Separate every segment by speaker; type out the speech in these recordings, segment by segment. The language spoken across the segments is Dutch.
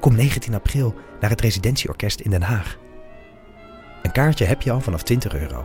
Speaker 1: Kom 19 april naar het Residentieorkest in Den Haag. Een kaartje heb je al vanaf 20 euro.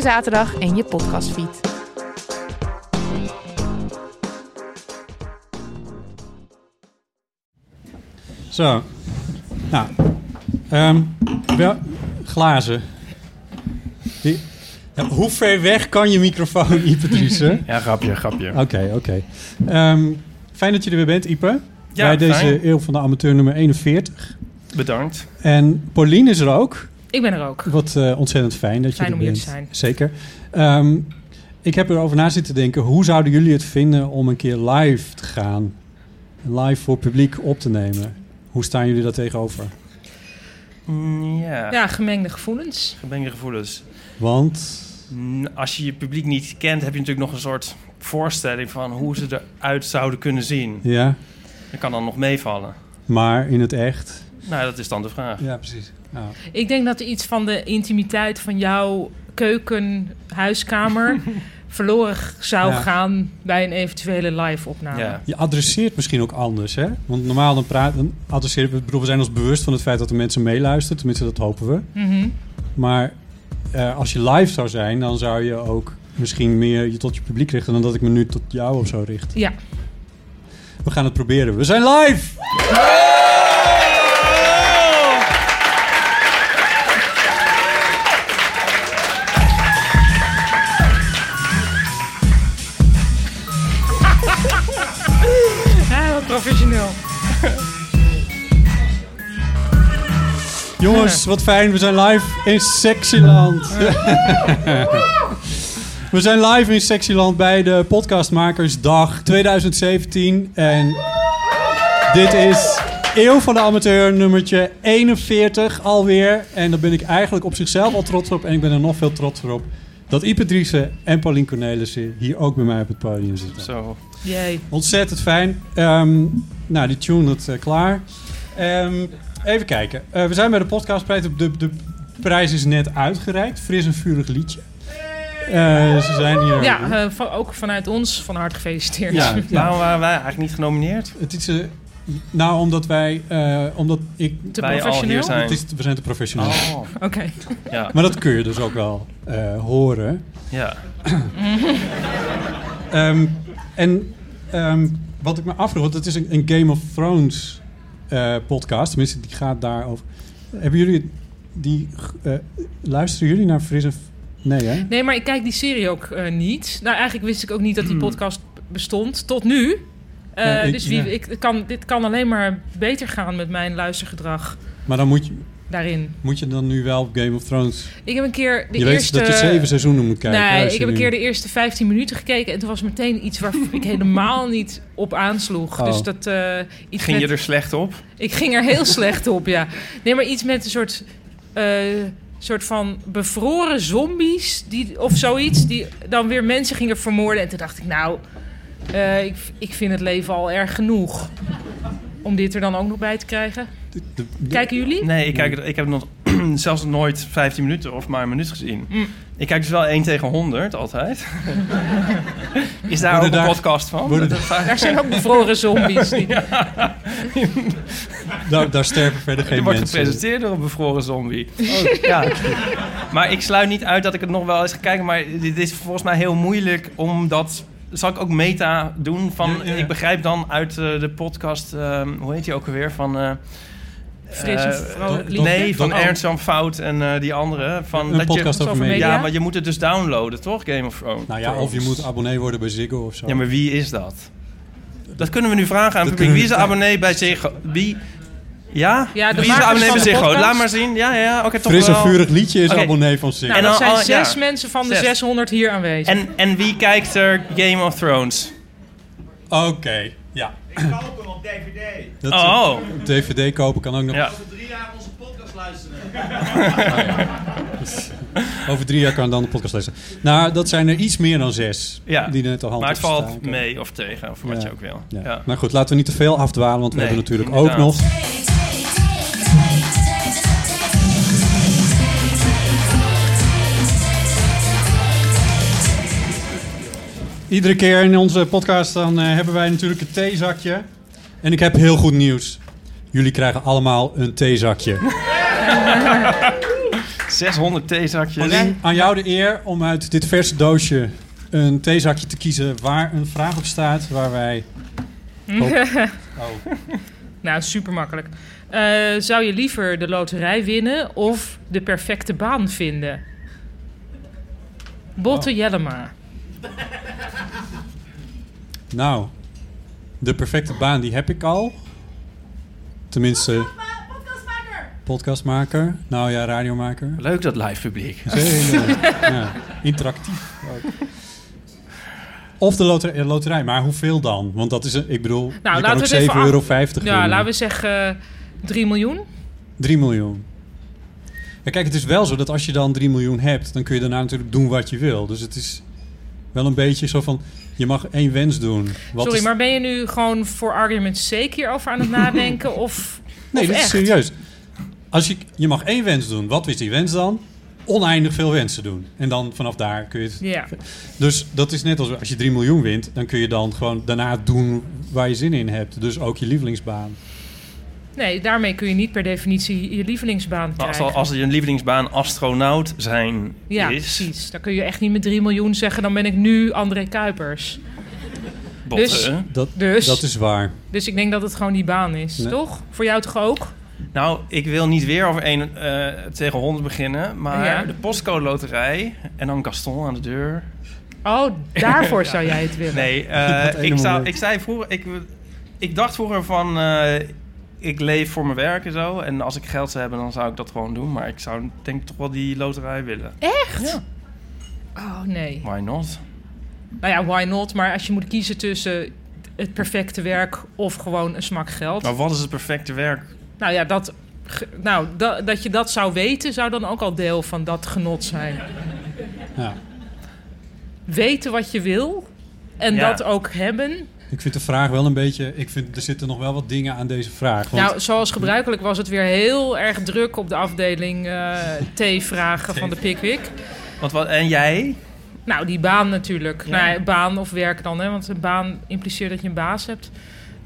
Speaker 2: zaterdag in je podcastfeed.
Speaker 3: Zo. Nou. ehm, wel, glazen. Die, ja, hoe ver weg kan je microfoon, Ipe Driessen?
Speaker 4: Ja, grapje, grapje.
Speaker 3: Oké, oké. Ehm, fijn dat je er weer bent, Ipe.
Speaker 4: Ja,
Speaker 3: Bij deze
Speaker 4: fijn.
Speaker 3: eeuw van de amateur nummer 41.
Speaker 4: Bedankt.
Speaker 3: En Pauline is er ook.
Speaker 5: Ik ben er ook.
Speaker 3: Wat eh, ontzettend fijn dat
Speaker 5: Fijn
Speaker 3: je er
Speaker 5: om hier
Speaker 3: bent.
Speaker 5: te zijn.
Speaker 3: Zeker. Ehm, ik heb erover na zitten denken. Hoe zouden jullie het vinden om een keer live te gaan? Live voor publiek op te nemen. Hoe staan jullie daar tegenover?
Speaker 4: Mm, Ja,
Speaker 5: Ja, gemengde gevoelens.
Speaker 4: gemengde gevoelens.
Speaker 3: Want...
Speaker 4: Mm, Als je je publiek niet kent, heb je natuurlijk nog een soort voorstelling van hoe ze eruit zouden kunnen zien.
Speaker 3: Ja,
Speaker 4: Dat kan dan nog meevallen.
Speaker 3: maar in het echt.
Speaker 4: Nou, dat is dan de vraag.
Speaker 3: Ja, precies. Nou.
Speaker 5: Ik denk dat er iets van de intimiteit van jouw keuken, huiskamer verloren g- zou
Speaker 3: Ja.
Speaker 5: gaan bij een eventuele live opname.
Speaker 4: Ja.
Speaker 3: Je adresseert misschien ook anders, hè? Want normaal dan praat, dan adresseren we, ik bedoel, we zijn ons bewust van het feit dat de mensen meeluisteren. Tenminste, dat hopen we.
Speaker 5: Mhm.
Speaker 3: Maar eh, als je live zou zijn, dan zou je ook misschien meer je tot je publiek richten dan dat ik me nu tot jou of zo richt.
Speaker 5: ja.
Speaker 3: We gaan het proberen. We zijn live!
Speaker 5: Ja, wat professioneel.
Speaker 3: Jongens, wat fijn. We zijn live in Sexyland. we zijn live in Sexyland bij de Podcastmakersdag 2017. En dit is Eeuw van de Amateur nummertje 41 alweer. En daar ben ik eigenlijk op zichzelf al trots op. En ik ben er nog veel trotser op dat Ipe Driessen en Paulien Cornelissen hier ook bij mij op het podium zitten.
Speaker 4: Zo.
Speaker 5: Jee.
Speaker 3: Ontzettend fijn. Ehm, nou, die tune is eh, klaar. Ehm, even kijken. Eh, we zijn bij de podcastprijs. De, de, de prijs is net uitgereikt. Fris en vurig liedje. Eh, ze zijn hier.
Speaker 5: Ja, eh, van- ook vanuit ons van harte gefeliciteerd.
Speaker 3: ja, ja.
Speaker 4: Waarom waren wij eigenlijk niet genomineerd?
Speaker 3: Het is, eh, nou, omdat wij, eh, omdat ik,
Speaker 5: Te
Speaker 4: wij al
Speaker 5: professioneel.
Speaker 4: hier zijn.
Speaker 3: het is, we zijn te professioneel.
Speaker 4: Oh,
Speaker 5: Oké.
Speaker 4: ja.
Speaker 3: Maar dat kun je dus ook wel eh, horen.
Speaker 4: ja.
Speaker 3: Ehm, en ehm, wat ik me afvroeg, want het is een, een Game of Thrones eh, podcast. Tenminste, die gaat daarover. Hebben jullie die. eh, luisteren jullie naar Frisse. Nee, hè?
Speaker 5: Nee, maar ik kijk die serie ook eh, niet. Nou, eigenlijk wist ik ook niet dat die podcast b- bestond. Tot nu. Eh,
Speaker 3: Ja, Hmm. ik-
Speaker 5: dus wie,
Speaker 3: ja.
Speaker 5: ik, het kan, dit kan alleen maar beter gaan met mijn luistergedrag
Speaker 3: Maar dan moet je,
Speaker 5: daarin.
Speaker 3: moet je dan nu wel op Game of Thrones.
Speaker 5: Ik heb een keer de
Speaker 3: je
Speaker 5: eerste...
Speaker 3: weet dat je zeven seizoenen moet kijken. hè,
Speaker 5: nee,
Speaker 3: als
Speaker 5: ik
Speaker 3: je
Speaker 5: heb een
Speaker 3: nu-
Speaker 5: keer de eerste 15 minuten gekeken en toen was meteen iets waar ik helemaal niet op aansloeg.
Speaker 3: Oh.
Speaker 5: Dus dat eh, iets
Speaker 4: Ging
Speaker 5: met-
Speaker 4: je er slecht op?
Speaker 5: ik ging er heel slecht op, ja. Nee, maar iets met een soort, eh, soort van bevroren zombies die, of zoiets, die dan weer mensen gingen vermoorden. En toen dacht ik, nou, eh, ik, ik vind het leven al erg genoeg. Om dit er dan ook nog bij te krijgen.
Speaker 3: De- de- de-
Speaker 5: Kijken jullie?
Speaker 4: Nee, ik, kijk, het- ik heb nog zelfs nooit 15 minuten of maar een minuut gezien.
Speaker 5: Mm.
Speaker 4: Ik kijk dus wel 1 tegen 100 altijd. is
Speaker 3: Worden
Speaker 4: daar ook een
Speaker 3: daar-
Speaker 4: podcast van?
Speaker 3: worden
Speaker 4: Dat- dat-
Speaker 5: Daar zijn ook bevroren zombies. Die,
Speaker 3: daar, daar sterven verder geen
Speaker 4: Je wordt
Speaker 3: mensen.
Speaker 4: gepresenteerd door een bevroren zombie.
Speaker 5: Oh,
Speaker 4: Ja. Maar ik sluit niet uit dat ik het nog wel eens ga kijken. Maar dit is volgens mij heel moeilijk omdat... Zal ik ook meta doen van...
Speaker 3: Ja, ja, ja.
Speaker 4: Ik begrijp dan uit eh, de podcast... ehm, hoe heet die ook alweer? Van eh,
Speaker 5: Fris en
Speaker 4: Eh,
Speaker 5: vrolijk
Speaker 3: do-
Speaker 5: liedje.
Speaker 4: nee, van
Speaker 3: Oh.
Speaker 4: Ernst Jan Fout en eh, die andere. Van,
Speaker 3: Een podcast
Speaker 4: je,
Speaker 3: over
Speaker 5: over
Speaker 3: media.
Speaker 5: media.
Speaker 4: Ja, maar je moet het dus downloaden, toch? Game of Thrones.
Speaker 3: Nou ja, of je moet abonnee worden bij Ziggo of zo.
Speaker 4: Ja, maar wie is dat? Dat kunnen we nu vragen aan het
Speaker 3: Dat
Speaker 4: publiek. Wie is de
Speaker 3: kunnen we-
Speaker 4: abonnee bij zich? Wie? Ja?
Speaker 5: Ja, de
Speaker 4: Wie is de
Speaker 5: makers
Speaker 4: abonnee
Speaker 5: van
Speaker 4: bij
Speaker 5: de
Speaker 4: zich?
Speaker 5: podcast.
Speaker 4: Laat maar zien. Ja, ja, ja. Oké, toch
Speaker 3: Fris en
Speaker 4: wel.
Speaker 3: vurig liedje is
Speaker 4: Oké.
Speaker 3: abonnee van Ziggo.
Speaker 5: Nou,
Speaker 4: en
Speaker 5: dat
Speaker 4: dan-
Speaker 5: zijn
Speaker 4: oh, ja.
Speaker 5: zes mensen van de
Speaker 4: Zes.
Speaker 5: 600 hier aanwezig.
Speaker 4: En, en wie kijkt er Game of Thrones?
Speaker 3: Oké,
Speaker 5: Nou.
Speaker 3: ja.
Speaker 6: kopen op DVD.
Speaker 3: Dat,
Speaker 4: Oh.
Speaker 3: eh, DVD kopen kan ook nog.
Speaker 4: Ja.
Speaker 6: Over drie jaar onze podcast luisteren.
Speaker 3: Over drie jaar kan dan de podcast lezen. Nou, dat zijn er iets meer dan zes.
Speaker 4: Ja.
Speaker 3: Die net al hand
Speaker 4: Maar het
Speaker 3: op staan.
Speaker 4: valt mee of tegen, of wat
Speaker 3: Ja.
Speaker 4: je ook wil.
Speaker 3: Ja.
Speaker 4: Ja.
Speaker 3: Maar goed, laten we niet te veel afdwalen, want we
Speaker 4: Nee,
Speaker 3: hebben natuurlijk ook
Speaker 4: inderdaad.
Speaker 3: nog. Iedere keer in onze podcast dan eh, hebben wij natuurlijk een theezakje. En ik heb heel goed nieuws. Jullie krijgen allemaal een theezakje.
Speaker 4: 600 theezakjes.
Speaker 3: Alleen aan jou de eer om uit dit verse doosje een theezakje te kiezen waar een vraag op staat waar wij... Oh,
Speaker 5: Nou, super makkelijk. Eh, zou je liever de loterij winnen of de perfecte baan vinden?
Speaker 4: Oh.
Speaker 5: Botte Jellema.
Speaker 3: nou, de perfecte baan die heb ik al. Tenminste, podcastmaker. Nou ja, radiomaker.
Speaker 4: Leuk dat live publiek.
Speaker 3: Zeker. ja. Interactief. ook. Of de loter- eh, loterij, maar hoeveel dan? Want dat is, een, ik bedoel, je
Speaker 5: Nou, laten
Speaker 3: kan
Speaker 5: we
Speaker 3: ook
Speaker 5: het even
Speaker 3: 7,50 euro
Speaker 5: Ja, laten we zeggen eh, 3 miljoen.
Speaker 3: 3 miljoen. Ja, kijk, het is wel zo dat als je dan 3 miljoen hebt, dan kun je daarna natuurlijk doen wat je wil. Dus het is wel een beetje zo van, je mag één wens doen. Wat
Speaker 5: Sorry,
Speaker 3: is-
Speaker 5: maar ben je nu gewoon voor argument's sake hierover aan het nadenken? Of,
Speaker 3: Nee,
Speaker 5: of
Speaker 3: dit is
Speaker 5: echt?
Speaker 3: serieus. Als je, je mag één wens doen. Wat is die wens dan? Oneindig veel wensen doen. En dan vanaf daar kun je het...
Speaker 5: Ja.
Speaker 3: Dus dat is net als als je 3 miljoen wint, dan kun je dan gewoon daarna doen waar je zin in hebt. Dus ook je lievelingsbaan.
Speaker 5: Nee, daarmee kun je niet per definitie je lievelingsbaan
Speaker 4: Maar als,
Speaker 5: krijgen.
Speaker 4: al, als je lievelingsbaan astronaut zijn
Speaker 5: ja,
Speaker 4: is...
Speaker 5: precies. Dan kun je echt niet met 3 miljoen zeggen, dan ben ik nu André Kuipers.
Speaker 4: botten,
Speaker 5: Dus-
Speaker 4: hè?
Speaker 3: Dat,
Speaker 5: Dus?
Speaker 3: dat is waar.
Speaker 5: Dus ik denk dat het gewoon die baan is,
Speaker 3: Nee.
Speaker 5: toch? Voor jou toch ook?
Speaker 4: Nou, ik wil niet weer over één eh, tegen honderd beginnen. Maar
Speaker 5: Ja.
Speaker 4: de postcode loterij en dan Gaston aan de deur.
Speaker 5: Oh, daarvoor zou jij het willen.
Speaker 4: Nee, eh,
Speaker 3: Dat ene
Speaker 4: ik, zou,
Speaker 3: moment.
Speaker 4: ik zei vroeger... Ik, ik dacht vroeger van... eh, ik leef voor mijn werk en zo. En als ik geld zou hebben, dan zou ik dat gewoon doen. Maar ik zou denk ik toch wel die loterij willen.
Speaker 5: Oh nee.
Speaker 4: Why not?
Speaker 5: Nou ja, why not? Maar als je moet kiezen tussen het perfecte werk of gewoon een smak geld.
Speaker 4: Maar wat is het perfecte werk?
Speaker 5: Nou ja, dat, ge- nou, da- dat je dat zou weten, zou dan ook al deel van dat genot zijn.
Speaker 3: Ja.
Speaker 5: Weten wat je wil en
Speaker 4: Ja.
Speaker 5: dat ook hebben.
Speaker 3: Ik vind de vraag wel een beetje... Ik vind, er zitten nog wel wat dingen aan deze vraag. Want
Speaker 5: Nou, zoals gebruikelijk was het weer heel erg druk op de afdeling eh T-vragen van de Pickwick.
Speaker 4: Want wat, en jij?
Speaker 5: Nou, die baan natuurlijk.
Speaker 4: Ja.
Speaker 5: Nou, ja, baan of werk dan, hè? want een baan impliceert dat je een baas hebt.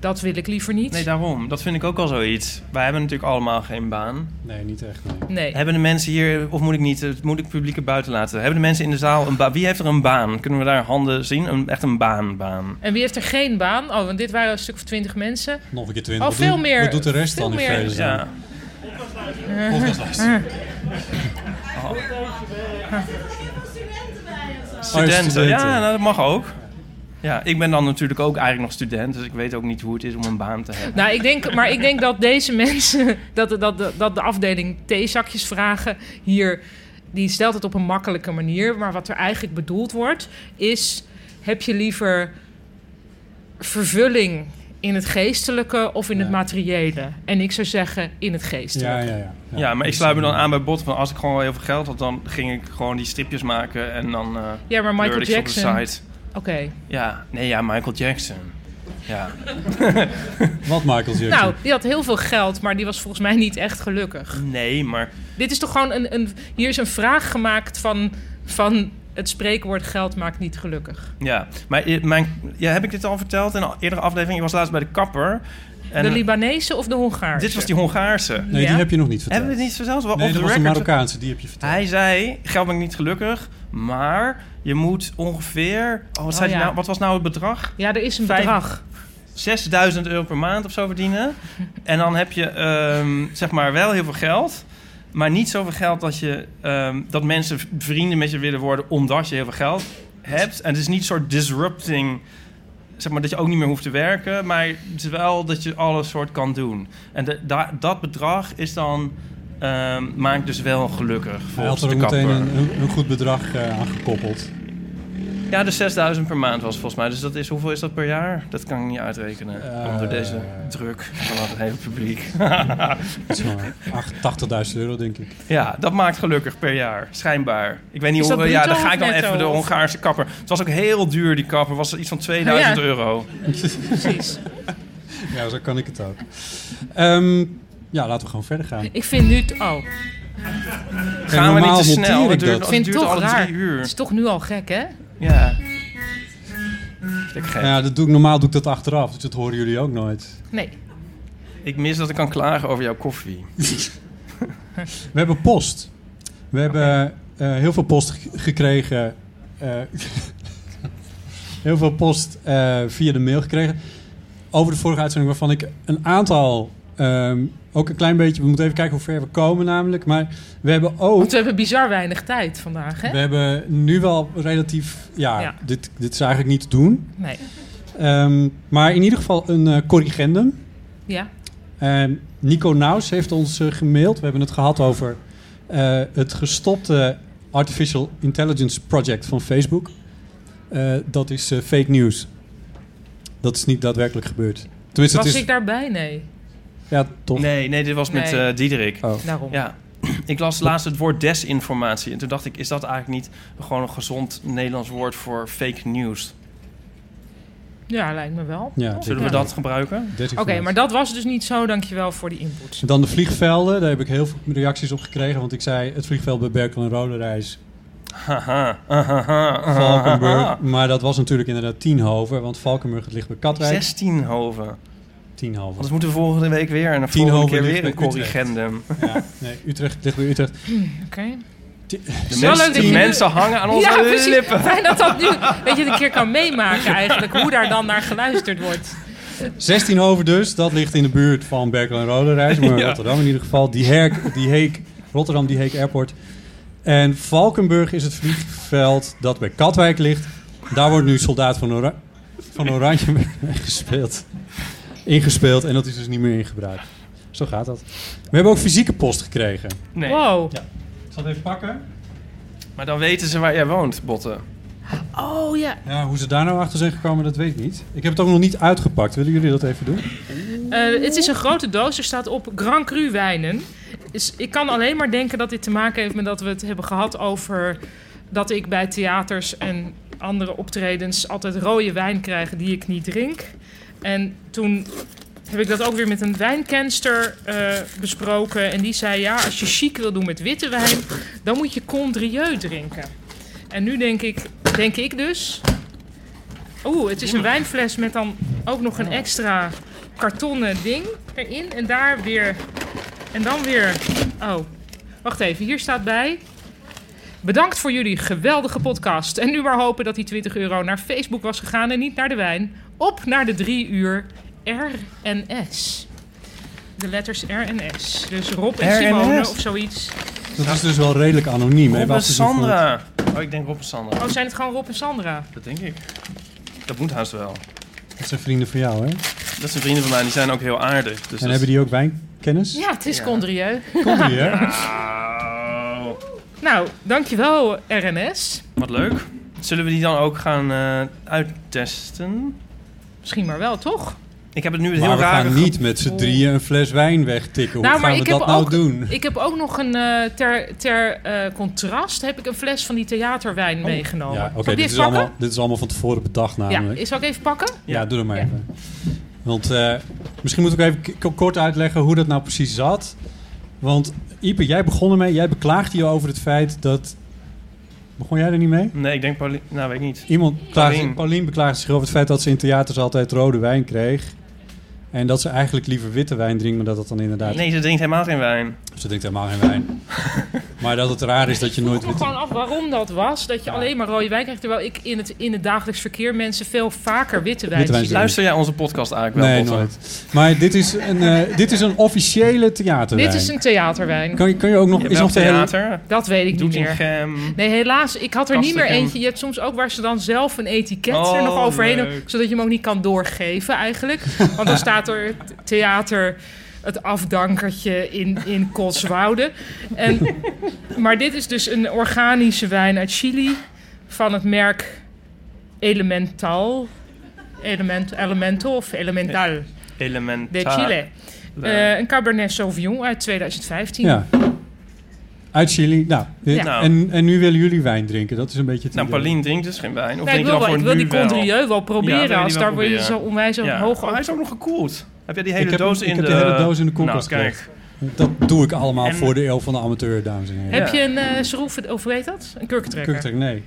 Speaker 5: Dat wil ik liever niet.
Speaker 4: Nee, daarom. Dat vind ik ook al zoiets. Wij hebben natuurlijk allemaal geen baan.
Speaker 3: nee, niet echt. Nee.
Speaker 5: nee.
Speaker 4: Hebben de mensen hier, of moet ik niet, het moet ik het publiek er buiten laten? Hebben de mensen in de zaal een baan? Wie heeft er een baan? Kunnen we daar handen zien? Een, echt een baan, baan.
Speaker 5: En wie heeft er geen baan? Oh, want dit waren een stuk of twintig mensen.
Speaker 3: Nog een keer 20.
Speaker 5: Oh,
Speaker 3: Wat doet-
Speaker 5: veel meer-
Speaker 3: Wat doet de rest
Speaker 5: veel
Speaker 3: dan in
Speaker 5: meer-
Speaker 3: vredesnaam?
Speaker 4: Ja.
Speaker 3: Podcastluisteren. Oh.
Speaker 4: Studenten.
Speaker 3: Oh, studenten.
Speaker 4: Ja, nou, dat mag ook. Ja, ik ben dan natuurlijk ook eigenlijk nog student, dus ik weet ook niet hoe het is om een baan te hebben.
Speaker 5: Nou, ik denk, maar ik denk dat deze mensen, dat, dat, dat, dat de afdeling theezakjes vragen hier, die stelt het op een makkelijke manier. Maar wat er eigenlijk bedoeld wordt, is: heb je liever vervulling in het geestelijke of in het
Speaker 3: Ja.
Speaker 5: materiële? En ik zou zeggen in het
Speaker 3: Ja,
Speaker 5: geestelijke.
Speaker 3: ja, ja.
Speaker 4: Ja, maar ik sluit me dan aan bij Bot van als ik gewoon wel heel veel geld had, dan ging ik gewoon die stripjes maken en dan eh
Speaker 5: Ja, maar Michael
Speaker 4: kleurde ik ze
Speaker 5: Jackson.
Speaker 4: op de site.
Speaker 5: Oké.
Speaker 4: Ja, nee, ja, Michael Jackson. Ja.
Speaker 3: Wat Michael Jackson?
Speaker 5: Nou, die had heel veel geld, maar die was volgens mij niet echt gelukkig.
Speaker 4: Nee, maar
Speaker 5: Dit is toch gewoon een. een hier is een vraag gemaakt van, van het spreekwoord geld maakt niet gelukkig.
Speaker 4: ja. Maar i- mijn, ja, heb ik dit al verteld in een eerdere aflevering? Ik was laatst bij de kapper. En eh,
Speaker 5: de Libanese of de Hongaarse?
Speaker 4: dit was die Hongaarse.
Speaker 3: nee,
Speaker 5: ja.
Speaker 3: die heb je nog niet verteld.
Speaker 4: Hebben we het niet verteld? Wel
Speaker 3: nee,
Speaker 4: off
Speaker 3: dat
Speaker 4: the
Speaker 3: was een
Speaker 4: record.
Speaker 3: Marokkaanse, die heb je verteld.
Speaker 4: Hij zei, geld ben ik niet gelukkig, maar je moet ongeveer... Oh, wat, zei
Speaker 5: Oh,
Speaker 4: hij
Speaker 5: ja.
Speaker 4: nou, wat was nou het bedrag?
Speaker 5: Ja, er is een
Speaker 4: Vijf-
Speaker 5: bedrag.
Speaker 4: 6000 euro per maand of zo verdienen. En dan heb je ehm, zeg maar wel heel veel geld. Maar niet zoveel geld dat, je, ehm, dat mensen v- vrienden met je willen worden omdat je heel veel geld hebt. En het is niet een soort disrupting, zeg maar, dat je ook niet meer hoeft te werken. Maar het is wel dat je alles soort kan doen. En de- da- dat bedrag is dan, ehm, maakt dus wel gelukkig
Speaker 3: Hij had
Speaker 4: volgens
Speaker 3: er
Speaker 4: de
Speaker 3: ook meteen
Speaker 4: kapper.
Speaker 3: een, een, een goed bedrag eh, aan gekoppeld.
Speaker 4: Ja, dus 6000 per maand was volgens mij. Dus dat is, hoeveel is dat per jaar? Dat kan ik niet uitrekenen.
Speaker 3: Eh,
Speaker 4: Onder deze druk van het hele publiek.
Speaker 3: Dat is maar acht- 80.000 euro, denk ik.
Speaker 4: ja, dat maakt gelukkig per jaar. Schijnbaar. Ik weet niet
Speaker 5: Is
Speaker 4: hoe.
Speaker 5: dat
Speaker 4: Ja,
Speaker 5: bruto
Speaker 4: dan ga
Speaker 5: of
Speaker 4: ik dan
Speaker 5: netto,
Speaker 4: even de
Speaker 5: of?
Speaker 4: Hongaarse kapper. Het was ook heel duur, die kapper. Was iets van 2000
Speaker 5: Ja.
Speaker 4: euro.
Speaker 5: Precies.
Speaker 3: Ja, zo kan ik het ook. Ehm, ja, laten we gewoon verder gaan.
Speaker 5: Ik vind nu... t- Oh, ik
Speaker 4: Gaan we niet
Speaker 3: normaal
Speaker 4: te snel?
Speaker 3: monteer ik
Speaker 4: Het duurt,
Speaker 3: dat.
Speaker 4: het
Speaker 5: vind het
Speaker 4: duurt
Speaker 5: toch
Speaker 4: al
Speaker 5: raar.
Speaker 4: drie
Speaker 5: Het
Speaker 4: uur.
Speaker 5: is toch nu al gek, hè?
Speaker 4: Ja. Ik, gek.
Speaker 3: Nou ja, dat doe ik, normaal doe ik dat achteraf, dus dat horen jullie ook nooit.
Speaker 5: Nee.
Speaker 4: ik mis dat ik kan klagen over jouw koffie.
Speaker 3: We hebben post. We hebben eh, heel veel post g- gekregen. eh, heel veel post eh, via de mail gekregen. Over de vorige uitzending, waarvan ik een aantal. ehm, ook een klein beetje. We moeten even kijken hoe ver we komen, namelijk. Maar we hebben ook.
Speaker 5: Want we hebben bizar weinig tijd vandaag, hè?
Speaker 3: We hebben nu wel relatief. Ja,
Speaker 5: Ja.
Speaker 3: Dit, dit is eigenlijk niet te doen.
Speaker 5: Nee.
Speaker 3: Ehm, maar in ieder geval een eh, corrigendum.
Speaker 5: Ja.
Speaker 3: Ehm, Nico Naus heeft ons eh, gemaild. We hebben het gehad over eh, het gestopte Artificial Intelligence Project van Facebook. Eh, dat is eh, fake news. Dat is niet daadwerkelijk gebeurd. Tenminste,
Speaker 5: Was
Speaker 3: het is...
Speaker 5: ik daarbij? Nee.
Speaker 3: Ja, toch.
Speaker 4: Nee, nee, dit was met
Speaker 5: Nee.
Speaker 4: eh, Diederik.
Speaker 3: Oh.
Speaker 5: Daarom.
Speaker 4: Ja, ik las laatst het woord desinformatie. En toen dacht ik, is dat eigenlijk niet gewoon een gezond Nederlands woord voor fake news?
Speaker 5: Ja, lijkt me wel.
Speaker 3: Ja,
Speaker 4: Zullen we
Speaker 5: Ja.
Speaker 4: dat gebruiken?
Speaker 3: Oké,
Speaker 5: Oké, maar dat was dus niet zo. Dankjewel voor die input.
Speaker 3: Dan de vliegvelden. Daar heb ik heel veel reacties op gekregen. Want ik zei, het vliegveld bij Berkel en Roderijs
Speaker 4: Haha, ahaha,
Speaker 3: Valkenburg.
Speaker 4: ahaha.
Speaker 3: Maar dat was natuurlijk inderdaad Tienhoven. Want Valkenburg het ligt bij Katwijk.
Speaker 4: 16 hoven.
Speaker 3: Tienhoven.
Speaker 4: Anders moeten we volgende week weer en de
Speaker 3: Tien
Speaker 4: volgende
Speaker 3: hoven
Speaker 4: keer
Speaker 3: ligt
Speaker 4: weer
Speaker 3: bij
Speaker 4: een corrigendum.
Speaker 3: Ja, nee, Utrecht het ligt bij Utrecht.
Speaker 5: Oké.
Speaker 4: De,
Speaker 5: wel
Speaker 4: mensen-
Speaker 5: leuk dat
Speaker 4: de
Speaker 5: je nu-
Speaker 4: mensen hangen aan onze
Speaker 5: Ja, precies.
Speaker 4: lippen.
Speaker 5: Fijn dat dat nu, weet je, een keer kan meemaken eigenlijk. Hoe daar dan naar geluisterd wordt.
Speaker 3: 16 over dus, dat ligt in de buurt van Berkel en Roderijs, maar
Speaker 4: Ja.
Speaker 3: Rotterdam in ieder geval. Die Herk, die Heek, Rotterdam, die Heek Airport. En Valkenburg is het vliegveld dat bij Katwijk ligt. Daar wordt nu Soldaat van, Ora van Oranje gespeeld. Ingespeeld en dat is dus niet meer in gebruik. Zo gaat dat. We hebben ook fysieke post gekregen.
Speaker 4: Nee,
Speaker 5: Wow.
Speaker 3: Ik zal het even pakken.
Speaker 4: maar dan weten ze waar jij woont, Botten.
Speaker 5: Oh ja.
Speaker 3: Ja, hoe ze daar nou achter zijn gekomen, dat weet ik niet. Ik heb het ook nog niet uitgepakt. Willen jullie dat even doen?
Speaker 5: Eh, het is een grote doos. Er staat op Grand Cru wijnen. Dus ik kan alleen maar denken dat dit te maken heeft met dat we het hebben gehad over dat ik bij theaters en andere optredens altijd rode wijn krijg die ik niet drink. En toen heb ik dat ook weer met een wijnkenster eh, besproken. En die zei: Ja, als je chic wil doen met witte wijn, dan moet je Condrieu drinken. En nu denk ik, denk ik dus. Oeh, het is een wijnfles met dan ook nog
Speaker 4: Oh.
Speaker 5: een extra kartonnen ding erin. En daar weer. En dan weer. Oh, wacht even. Hier staat bij. Bedankt voor jullie geweldige podcast. En nu maar hopen dat die 20 euro naar Facebook was gegaan en niet naar de wijn. Op naar de drie uur R en S. De letters R en S. Dus Rob en
Speaker 4: R en
Speaker 5: Simone
Speaker 4: S.
Speaker 5: of zoiets.
Speaker 3: Dat is dus wel redelijk anoniem. hè,
Speaker 4: Rob en
Speaker 3: wat ze doen voor-
Speaker 4: Sandra. Oh, ik denk Rob en Sandra.
Speaker 5: Oh, zijn het gewoon Rob en Sandra?
Speaker 4: Dat denk ik. Dat moet haast wel.
Speaker 3: Dat zijn vrienden van jou, hè?
Speaker 4: Dat zijn vrienden van mij, die zijn ook heel aardig. Dus
Speaker 3: en
Speaker 4: dat-
Speaker 3: hebben die ook wijnkennis?
Speaker 5: Ja, het is
Speaker 4: Ja.
Speaker 5: Condrieu.
Speaker 3: Komt die, hè?
Speaker 4: Auw.
Speaker 5: Nou, dankjewel RNS.
Speaker 4: Wat leuk. Zullen we die dan ook gaan eh, uittesten?
Speaker 5: Misschien maar wel, toch?
Speaker 4: Ik heb het nu het
Speaker 3: Maar
Speaker 4: heel
Speaker 3: we
Speaker 4: raar.
Speaker 3: gaan niet met z'n drieën een fles wijn wegtikken. Hoe
Speaker 5: Nou, maar
Speaker 3: gaan we
Speaker 5: ik
Speaker 3: dat
Speaker 5: heb
Speaker 3: nou
Speaker 5: ook-
Speaker 3: doen?
Speaker 5: Ik heb ook nog een, eh, ter, ter eh, contrast, heb ik een fles van die theaterwijn meegenomen.
Speaker 3: Oh, Ja, oké,
Speaker 5: Zal ik
Speaker 3: dit,
Speaker 5: die even
Speaker 3: is
Speaker 5: pakken?
Speaker 3: allemaal- dit is allemaal van tevoren bedacht namelijk.
Speaker 5: Ja, zal ik even pakken?
Speaker 3: Ja, doe dat maar
Speaker 5: Ja.
Speaker 3: even. Want eh, misschien moet ik even k- k- kort uitleggen hoe dat nou precies zat. Want Ipe, jij begon ermee. Jij beklaagde je over het feit dat... Begon jij er niet mee?
Speaker 4: Nee, ik denk Pauli. Nou, weet ik niet.
Speaker 3: Iemand
Speaker 4: Paulien.
Speaker 3: klaagde, Paulien beklaagde zich over het feit dat ze in theaters altijd rode wijn kreeg. En dat ze eigenlijk liever witte wijn drinkt, maar dat dat dan inderdaad... Dus
Speaker 4: Nee, ze drinkt helemaal geen wijn.
Speaker 3: Ze drinkt helemaal geen wijn. Maar dat het raar is dat je nooit
Speaker 5: Ik vroeg
Speaker 3: witte...
Speaker 5: me gewoon af waarom dat was. Dat je alleen maar rode wijn krijgt. Terwijl ik in het, in het dagelijks verkeer mensen veel vaker witte wijn
Speaker 3: Witte wijn drinken.
Speaker 5: zie.
Speaker 4: Luister jij onze podcast eigenlijk wel?
Speaker 3: Nee,
Speaker 4: Botte?
Speaker 3: nooit. Maar dit is een, eh, dit is een officiële theaterwijn.
Speaker 5: Dit is een theaterwijn.
Speaker 3: Kan, je- kan je ook nog...
Speaker 4: Je
Speaker 3: is nog
Speaker 4: nog
Speaker 3: de hele-
Speaker 4: theater,
Speaker 5: Dat weet ik niet meer.
Speaker 4: Doetinchem.
Speaker 5: Nee, helaas. Ik had er niet meer
Speaker 4: Kastenkern.
Speaker 5: eentje. Je hebt soms ook waar ze dan zelf een etiket
Speaker 4: Oh,
Speaker 5: er nog overheen doen,
Speaker 4: leuk.
Speaker 5: zodat je hem ook niet kan doorgeven eigenlijk. Want dan staat er th- theater, het afdankertje in, in Kotswoude. En, maar dit is dus een organische wijn uit Chili van het merk Elemental. Element, elemental of Elemental de
Speaker 4: Elementaar.
Speaker 5: Chile.
Speaker 4: Leuk.
Speaker 5: Eh, een Cabernet Sauvignon uit 2015.
Speaker 3: Ja. Uit Chili. Nou, dit-
Speaker 5: Ja.
Speaker 4: Nou.
Speaker 3: En, en nu willen jullie wijn drinken. Dat is een beetje het
Speaker 4: nou,
Speaker 3: idee.
Speaker 4: Paulien drinkt dus geen wijn. Of
Speaker 5: Nee,
Speaker 4: drink
Speaker 5: ik wil,
Speaker 4: je dan
Speaker 5: wel,
Speaker 4: voor
Speaker 5: ik wil
Speaker 4: nu
Speaker 5: die Condrieu wel
Speaker 4: Ja,
Speaker 5: proberen.
Speaker 4: wil je
Speaker 5: als
Speaker 4: die wel
Speaker 5: daar word je zo
Speaker 4: proberen.
Speaker 5: onwijs
Speaker 4: Ja.
Speaker 5: hoog
Speaker 4: Oh, hij
Speaker 5: op.
Speaker 4: is ook nog gekoeld. Heb jij die hele
Speaker 3: Ik heb
Speaker 4: doos
Speaker 3: hem-
Speaker 4: in
Speaker 3: ik heb
Speaker 4: de...
Speaker 3: de hele doos in de koelkast
Speaker 4: Nou, kijk.
Speaker 3: gelegd. Dat doe ik allemaal
Speaker 4: En-
Speaker 3: voor de eeuw van de amateur, dames en heren.
Speaker 5: Heb
Speaker 4: Ja.
Speaker 5: je een eh schroef, of hoe heet dat? Een kurkentrekker?
Speaker 3: Kurktrek, nee.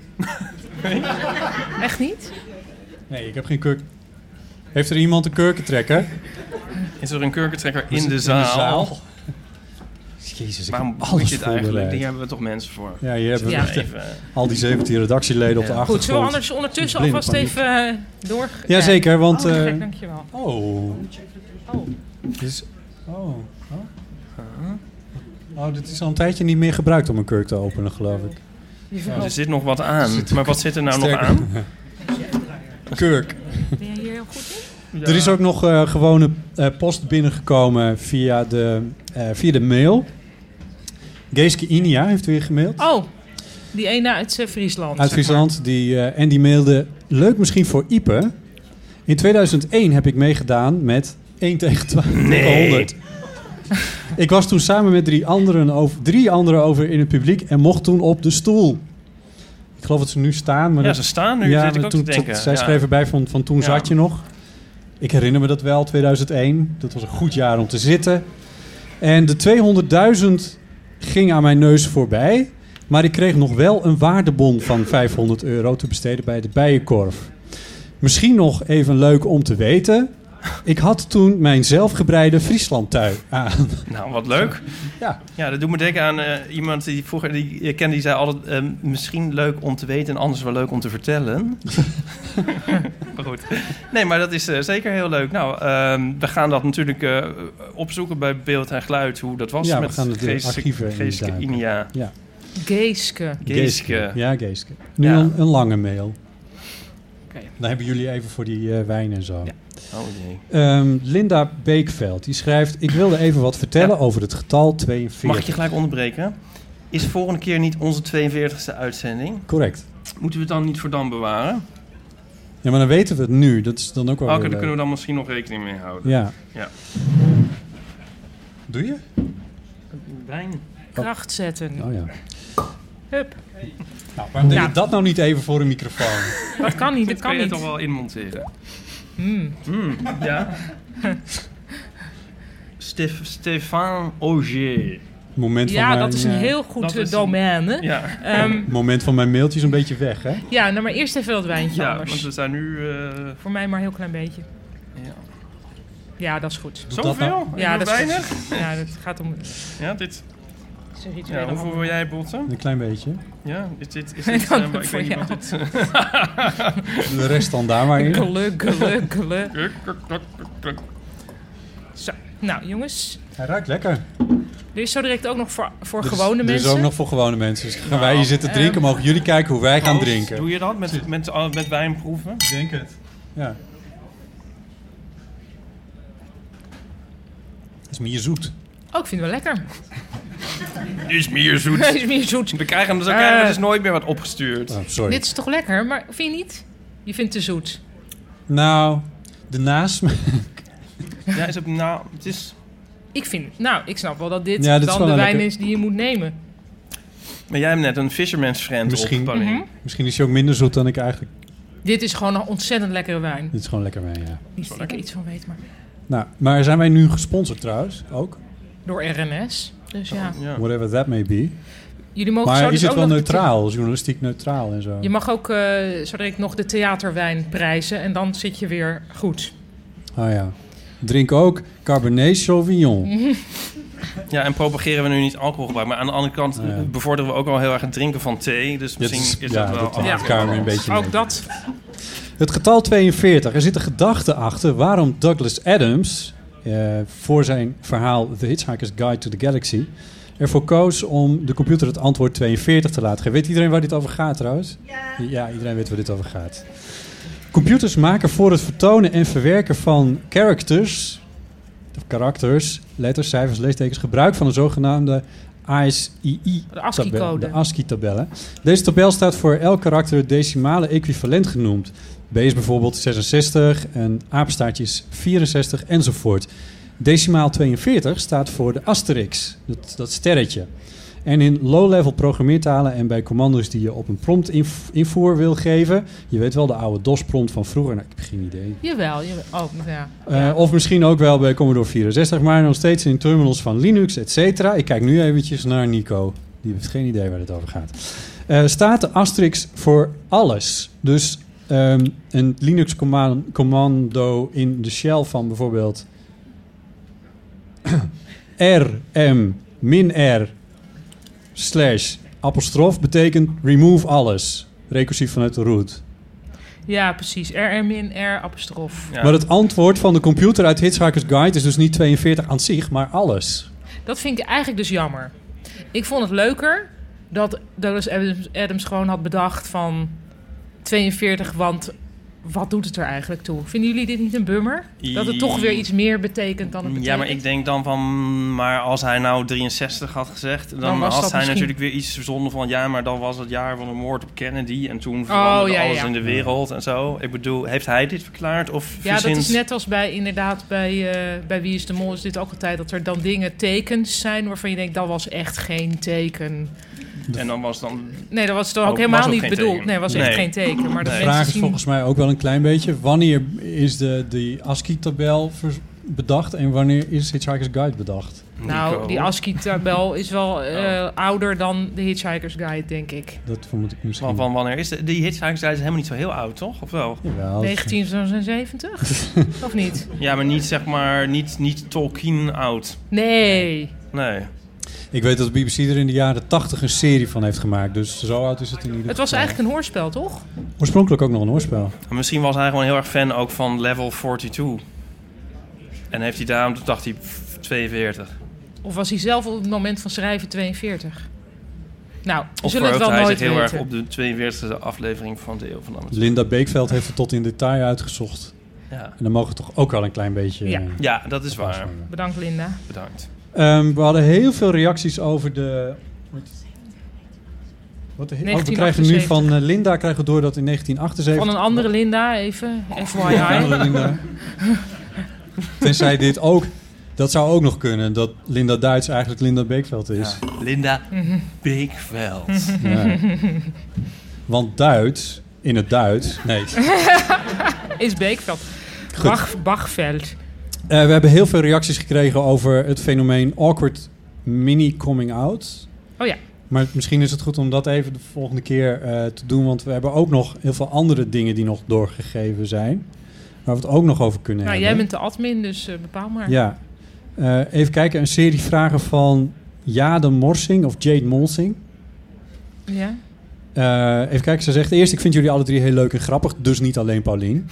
Speaker 5: Echt niet?
Speaker 3: Nee, ik heb geen kurk... Heeft er iemand een kurkentrekker? Dus
Speaker 4: Is er een kurkentrekker
Speaker 3: Is
Speaker 4: in
Speaker 3: het
Speaker 4: de zaal?
Speaker 3: Jezus, ik
Speaker 4: Waarom
Speaker 3: heb
Speaker 4: doe je
Speaker 3: alles
Speaker 4: dit eigenlijk?
Speaker 3: voorbereid.
Speaker 4: Hier hebben we toch mensen voor.
Speaker 3: Ja, hier hebben we
Speaker 5: Ja.
Speaker 3: echt, eh,
Speaker 4: Even.
Speaker 3: al die 17 redactieleden op de
Speaker 4: Ja.
Speaker 3: achtergrond.
Speaker 5: Goed, zullen we anders ondertussen
Speaker 3: Blinde
Speaker 5: alvast
Speaker 3: paniek.
Speaker 5: even eh, door...
Speaker 3: Jazeker, want...
Speaker 5: Oh,
Speaker 3: eh,
Speaker 5: gek, dankjewel.
Speaker 3: oh.
Speaker 5: Oh.
Speaker 3: Dit is- oh. Oh, dit is al een tijdje niet meer gebruikt om een kurk te openen, geloof ik.
Speaker 4: Er zit nog wat aan. Maar wat zit er nou nog
Speaker 3: Sterker.
Speaker 4: aan?
Speaker 3: Kurk.
Speaker 5: Ben jij hier heel goed in?
Speaker 4: Ja.
Speaker 3: Er is ook nog eh, gewone eh, post binnengekomen via de, eh, via de mail. Geeske Inia heeft weer gemaild.
Speaker 5: Oh, die ene uit eh,
Speaker 3: Uit
Speaker 5: Friesland. zeg maar.
Speaker 3: Friesland. Die, eh, en die mailde... Leuk misschien voor Ipe. In 2001 heb ik meegedaan met 1 tegen 1200. Ik was toen samen met drie anderen, over, drie anderen over in het publiek... en mocht toen op de stoel. Ik geloof dat ze nu staan. Maar
Speaker 4: Ja,
Speaker 3: dat-
Speaker 4: ze staan nu. zit ik
Speaker 3: maar
Speaker 4: ook
Speaker 3: toen,
Speaker 4: te denken.
Speaker 3: tot- zij
Speaker 4: Ja.
Speaker 3: schreef erbij van, van toen
Speaker 4: Ja.
Speaker 3: zat je nog. Ik herinner me dat wel, 2001. Dat was een goed jaar om te zitten. En de 200.000 ging aan mijn neus voorbij. Maar ik kreeg nog wel een waardebon van 500 euro te besteden bij de Bijenkorf. Misschien nog even leuk om te weten. Ik had toen mijn zelfgebreide Frieslandtui Ah, aan.
Speaker 4: Nou, wat leuk.
Speaker 3: Ja.
Speaker 4: Ja, dat doet me denken aan eh, iemand die vroeger die ik ken, die zei altijd: eh, misschien leuk om te weten en anders wel leuk om te vertellen. maar goed. Nee, maar dat is eh, zeker heel leuk. Nou, ehm, we gaan dat natuurlijk eh, opzoeken bij Beeld en Geluid, hoe dat was
Speaker 3: Ja, we
Speaker 4: met
Speaker 3: gaan het in archieven
Speaker 4: Geeske
Speaker 3: induiken.
Speaker 4: Inia.
Speaker 5: Geeske.
Speaker 4: Geeske.
Speaker 3: Ja, Geeske. Nu
Speaker 4: Ja.
Speaker 3: Een, een lange mail.
Speaker 5: Oké.
Speaker 3: Dan hebben jullie even voor die eh, wijn en zo.
Speaker 4: Oh jee.
Speaker 3: Ehm, Linda Beekveld, die schrijft... Ik wilde even wat vertellen
Speaker 4: Ja.
Speaker 3: over het getal 42.
Speaker 4: Mag ik je gelijk onderbreken? Is volgende keer niet onze 42e uitzending?
Speaker 3: Correct.
Speaker 4: Moeten we het dan niet voor dan bewaren?
Speaker 3: Ja, maar dan weten we het nu. Dat is dan ook wel weer
Speaker 4: Oké, daar Oh, kunnen we
Speaker 3: Oh, leuk.
Speaker 4: dan misschien nog rekening mee houden.
Speaker 3: Ja.
Speaker 4: Ja.
Speaker 3: Doe je?
Speaker 4: Wijn.
Speaker 5: Kracht zetten.
Speaker 3: Oh ja.
Speaker 5: Hup.
Speaker 3: Nou, waarom deed
Speaker 5: Ja.
Speaker 3: je dat nou niet even voor een microfoon?
Speaker 5: Dat kan niet, dat
Speaker 4: Dit kan
Speaker 5: kan
Speaker 4: je er toch
Speaker 5: niet.
Speaker 4: wel in monteren.
Speaker 5: Hmm.
Speaker 4: Hmm, ja. Stef, Stefan Auger.
Speaker 3: Moment van
Speaker 5: Ja,
Speaker 3: mijn,
Speaker 5: dat is een
Speaker 3: eh,
Speaker 5: heel goed
Speaker 4: dat
Speaker 5: eh,
Speaker 4: is een-
Speaker 5: domein. hè?
Speaker 4: Ja,
Speaker 5: Ehm,
Speaker 3: moment van mijn mailtje is een beetje weg, hè?
Speaker 5: ja, nou maar eerst even dat wijntje
Speaker 4: ja want
Speaker 5: anders.
Speaker 4: we zijn nu... eh,
Speaker 5: Voor mij maar een heel klein beetje.
Speaker 4: ja.
Speaker 5: Ja, dat is goed.
Speaker 3: dat nou?
Speaker 4: Zoveel?
Speaker 5: Ja, dat is goed.
Speaker 4: weinig.
Speaker 5: Ja, dat gaat om...
Speaker 4: Ja, dit,
Speaker 5: het is een rituele
Speaker 4: ja, hoeveel
Speaker 5: handeling.
Speaker 4: wil jij botten?
Speaker 3: Een klein beetje.
Speaker 4: Ja, dit, dit is dit,
Speaker 5: kan
Speaker 4: eh, maar
Speaker 5: het
Speaker 4: ik
Speaker 5: voor
Speaker 4: weet niet wat dit...
Speaker 3: De rest dan daar maar in.
Speaker 5: Geluk, geluk, geluk.
Speaker 4: Kruk, kruk, kruk, kruk, kruk.
Speaker 5: Zo, nou jongens.
Speaker 3: Hij ruikt lekker.
Speaker 5: Er is zo direct ook nog voor, voor
Speaker 3: Dus-
Speaker 5: gewone
Speaker 3: dus
Speaker 5: mensen.
Speaker 3: ook nog voor gewone mensen. Dus gaan wij hier zitten drinken, mogen jullie kijken hoe wij gaan
Speaker 4: Proost.
Speaker 3: drinken.
Speaker 4: Doe je dat met, met, al- met wijn proeven?
Speaker 3: denk het. Ja. Het is meer zoet.
Speaker 5: Oh, ik vind het wel lekker.
Speaker 4: Is meer
Speaker 5: Het
Speaker 4: zoet.
Speaker 5: is meer zoet.
Speaker 4: We krijgen hem dus, ook-
Speaker 5: Eh.
Speaker 4: krijgen we dus nooit meer wat opgestuurd.
Speaker 3: Oh, sorry.
Speaker 5: Dit is toch lekker, maar vind je niet? Je vindt het te zoet.
Speaker 3: Nou, de nasmaak.
Speaker 4: Ja, is het, nou, het is...
Speaker 5: Ik vind, nou, ik snap wel dat dit
Speaker 3: Ja, dit is
Speaker 5: dan
Speaker 3: wel
Speaker 5: de
Speaker 3: een
Speaker 5: wijn
Speaker 3: lekker-
Speaker 5: is die je moet nemen.
Speaker 4: Maar jij hebt net een fisherman's friend
Speaker 3: Misschien.
Speaker 4: op, Paulien.
Speaker 5: Mhm.
Speaker 3: Misschien is hij ook minder zoet dan ik eigenlijk.
Speaker 5: Dit is gewoon een ontzettend lekkere wijn.
Speaker 3: Dit is gewoon lekker mee, ja.
Speaker 5: Niet dat ik er iets van weet, maar
Speaker 3: Nou, maar zijn wij nu gesponsord trouwens? Ook?
Speaker 5: door RNS. Dus ja,
Speaker 4: Ja.
Speaker 3: Whatever that may be.
Speaker 5: jullie mogen zo
Speaker 3: Maar
Speaker 5: dus
Speaker 3: is het
Speaker 5: ook
Speaker 3: wel
Speaker 5: nog-
Speaker 3: neutraal? Journalistiek neutraal en zo?
Speaker 5: Je mag ook eh zo direct nog de theaterwijn prijzen en dan zit je weer goed.
Speaker 3: Oh, Ah ja. Drink ook Cabernet Sauvignon.
Speaker 4: Ja, en propageren we nu niet alcoholgebruik. Maar aan de andere kant
Speaker 3: Ja.
Speaker 4: bevorderen we ook al heel erg het drinken van thee. Dus
Speaker 3: dat
Speaker 4: misschien is,
Speaker 3: is-
Speaker 4: dat
Speaker 3: ja,
Speaker 4: wel...
Speaker 3: dat
Speaker 4: allemaal
Speaker 3: hangt elkaar weer een beetje mee.
Speaker 5: Ook dat.
Speaker 3: Het getal 42. Er zit een gedachte achter waarom Douglas Adams eh, voor zijn verhaal The Hitchhiker's Guide to the Galaxy ervoor koos om de computer het antwoord 42 te laten geven. Weet iedereen waar dit over gaat trouwens? Ja. Ja, iedereen weet waar dit over gaat. Computers maken voor het vertonen en verwerken van characters, of karakters, letters, cijfers, leestekens gebruik van de zogenaamde ASCII
Speaker 5: De ASCII-code.
Speaker 3: de ASCII-tabellen. Deze tabel staat voor elk karakter het decimale equivalent genoemd. B is bijvoorbeeld 66 en apenstaartje is 64 enzovoort. Decimaal 42 staat voor de asterix, dat, dat sterretje. En in low-level programmeertalen en bij commando's die je op een prompt inv- invoer wil geven. Je weet wel de oude DOS-prompt van vroeger. Nou, ik heb geen idee.
Speaker 5: Jawel, jawel. Oh, ja.
Speaker 3: Eh, Of misschien ook wel bij Commodore 64, maar nog steeds in terminals van Linux, et cetera. Ik kijk nu eventjes naar Nico. Die heeft geen idee waar het over gaat. Eh, staat de asterisk voor alles. Dus ehm, een Linux-commando in de shell van bijvoorbeeld rm min r slash apostrof betekent remove alles. Recursief vanuit de root.
Speaker 5: ja, precies. RR-R apostrof.
Speaker 4: Ja.
Speaker 3: Maar het antwoord van de computer uit Hitchhiker's Guide is dus niet 42 aan zich, maar alles.
Speaker 5: Dat vind ik eigenlijk dus jammer. Ik vond het leuker dat Douglas Adams, Adams gewoon had bedacht van 42, want wat doet het er eigenlijk toe? Vinden jullie dit niet een bummer? Dat het toch weer iets meer betekent dan het betekent?
Speaker 4: Ja, maar ik denk dan van... Maar als hij nou 63 had gezegd... Dan,
Speaker 5: Dan was
Speaker 4: had
Speaker 5: dat
Speaker 4: hij
Speaker 5: misschien-
Speaker 4: natuurlijk weer iets verzonnen van... Ja, maar dan was het jaar van de moord op Kennedy. En toen veranderde
Speaker 5: Oh, ja, ja,
Speaker 4: alles
Speaker 5: ja.
Speaker 4: in de wereld en zo. Ik bedoel, heeft hij dit verklaard? Of
Speaker 5: Ja, dat is
Speaker 4: verzint-
Speaker 5: net als bij inderdaad bij, eh, bij Wie is de Mol is dit ook altijd dat er dan dingen, tekens zijn waarvan je denkt dat was echt geen teken.
Speaker 4: En dan was dan...
Speaker 5: Nee, dat was dan ook
Speaker 4: Oh,
Speaker 5: helemaal
Speaker 4: was ook
Speaker 5: niet
Speaker 4: geen
Speaker 5: bedoeld.
Speaker 4: teken.
Speaker 5: Nee, was echt
Speaker 4: Nee.
Speaker 5: geen teken. Maar
Speaker 4: De
Speaker 5: dat
Speaker 4: vraag
Speaker 5: mensen
Speaker 3: Vraag is
Speaker 5: zien-
Speaker 3: volgens mij ook wel een klein beetje: wanneer is de, de ASCII-tabel vers- bedacht en wanneer is Hitchhiker's Guide bedacht?
Speaker 5: Nou,
Speaker 4: Nico.
Speaker 5: die ASCII-tabel is wel eh,
Speaker 4: Oh.
Speaker 5: ouder dan de Hitchhiker's Guide, denk ik.
Speaker 3: Dat vermoed ik misschien.
Speaker 4: Van, van wanneer is de, die hitzaak zijn helemaal niet zo heel oud, toch? Of wel?
Speaker 3: Jawel.
Speaker 5: 1976? of niet?
Speaker 4: Ja, maar niet zeg maar, niet, niet Tolkien oud.
Speaker 5: Nee.
Speaker 4: Nee.
Speaker 3: Ik weet dat de BBC er in de jaren 80 een serie van heeft gemaakt, dus zo oud is het in ieder geval.
Speaker 5: Het was eigenlijk een hoorspel, toch?
Speaker 3: Oorspronkelijk ook nog een hoorspel.
Speaker 4: Maar misschien was hij gewoon heel erg fan ook van level 42. En heeft hij daarom, toen dacht hij pff, 42.
Speaker 5: Of was hij zelf op het moment van schrijven 42? Nou, we
Speaker 4: Of
Speaker 5: zullen het
Speaker 4: verheugde
Speaker 5: wel
Speaker 4: hij zich
Speaker 5: nooit
Speaker 4: heel
Speaker 5: weten.
Speaker 4: erg op de 42e aflevering van de Eeuw van Amateur.
Speaker 3: Linda Beekveld heeft het tot in detail uitgezocht.
Speaker 4: Ja.
Speaker 3: En dan mogen we toch ook wel een klein beetje.
Speaker 5: Ja.
Speaker 3: eh,
Speaker 4: ja, dat is waar.
Speaker 5: Bedankt, Linda.
Speaker 4: Bedankt.
Speaker 3: Ehm, we hadden heel veel reacties over de. Wat de oh, we krijgen nu
Speaker 5: 1978.
Speaker 3: van eh, Linda krijgen we door dat in
Speaker 5: Van
Speaker 3: 1978.
Speaker 5: een andere Linda, even.
Speaker 3: Ja,
Speaker 5: FYI.
Speaker 3: andere Linda. Tenzij dit ook. Dat zou ook nog kunnen, dat Linda Duits eigenlijk Linda Beekveld is.
Speaker 4: Ja. Linda Beekveld.
Speaker 3: Ja. Want Duits, in het Duits. Nee. Eh,
Speaker 5: Is Beekveld.
Speaker 3: Goed.
Speaker 5: Bach, Bachveld.
Speaker 3: Eh, we hebben heel veel reacties gekregen over het fenomeen awkward mini coming out.
Speaker 5: Oh ja.
Speaker 3: Maar misschien is het goed om dat even de volgende keer eh, te doen. Want we hebben ook nog heel veel andere dingen die nog doorgegeven zijn. Waar we het ook nog over kunnen
Speaker 5: Nou, jij
Speaker 3: hebben.
Speaker 5: bent de admin, dus eh, bepaal maar.
Speaker 3: Ja. Eh, even kijken, een serie vragen van Jade Morsing of Jade Molsing.
Speaker 5: Ja?
Speaker 3: Eh, even kijken, ze zegt eerst... ik vind jullie alle drie heel leuk en grappig, dus niet alleen Paulien.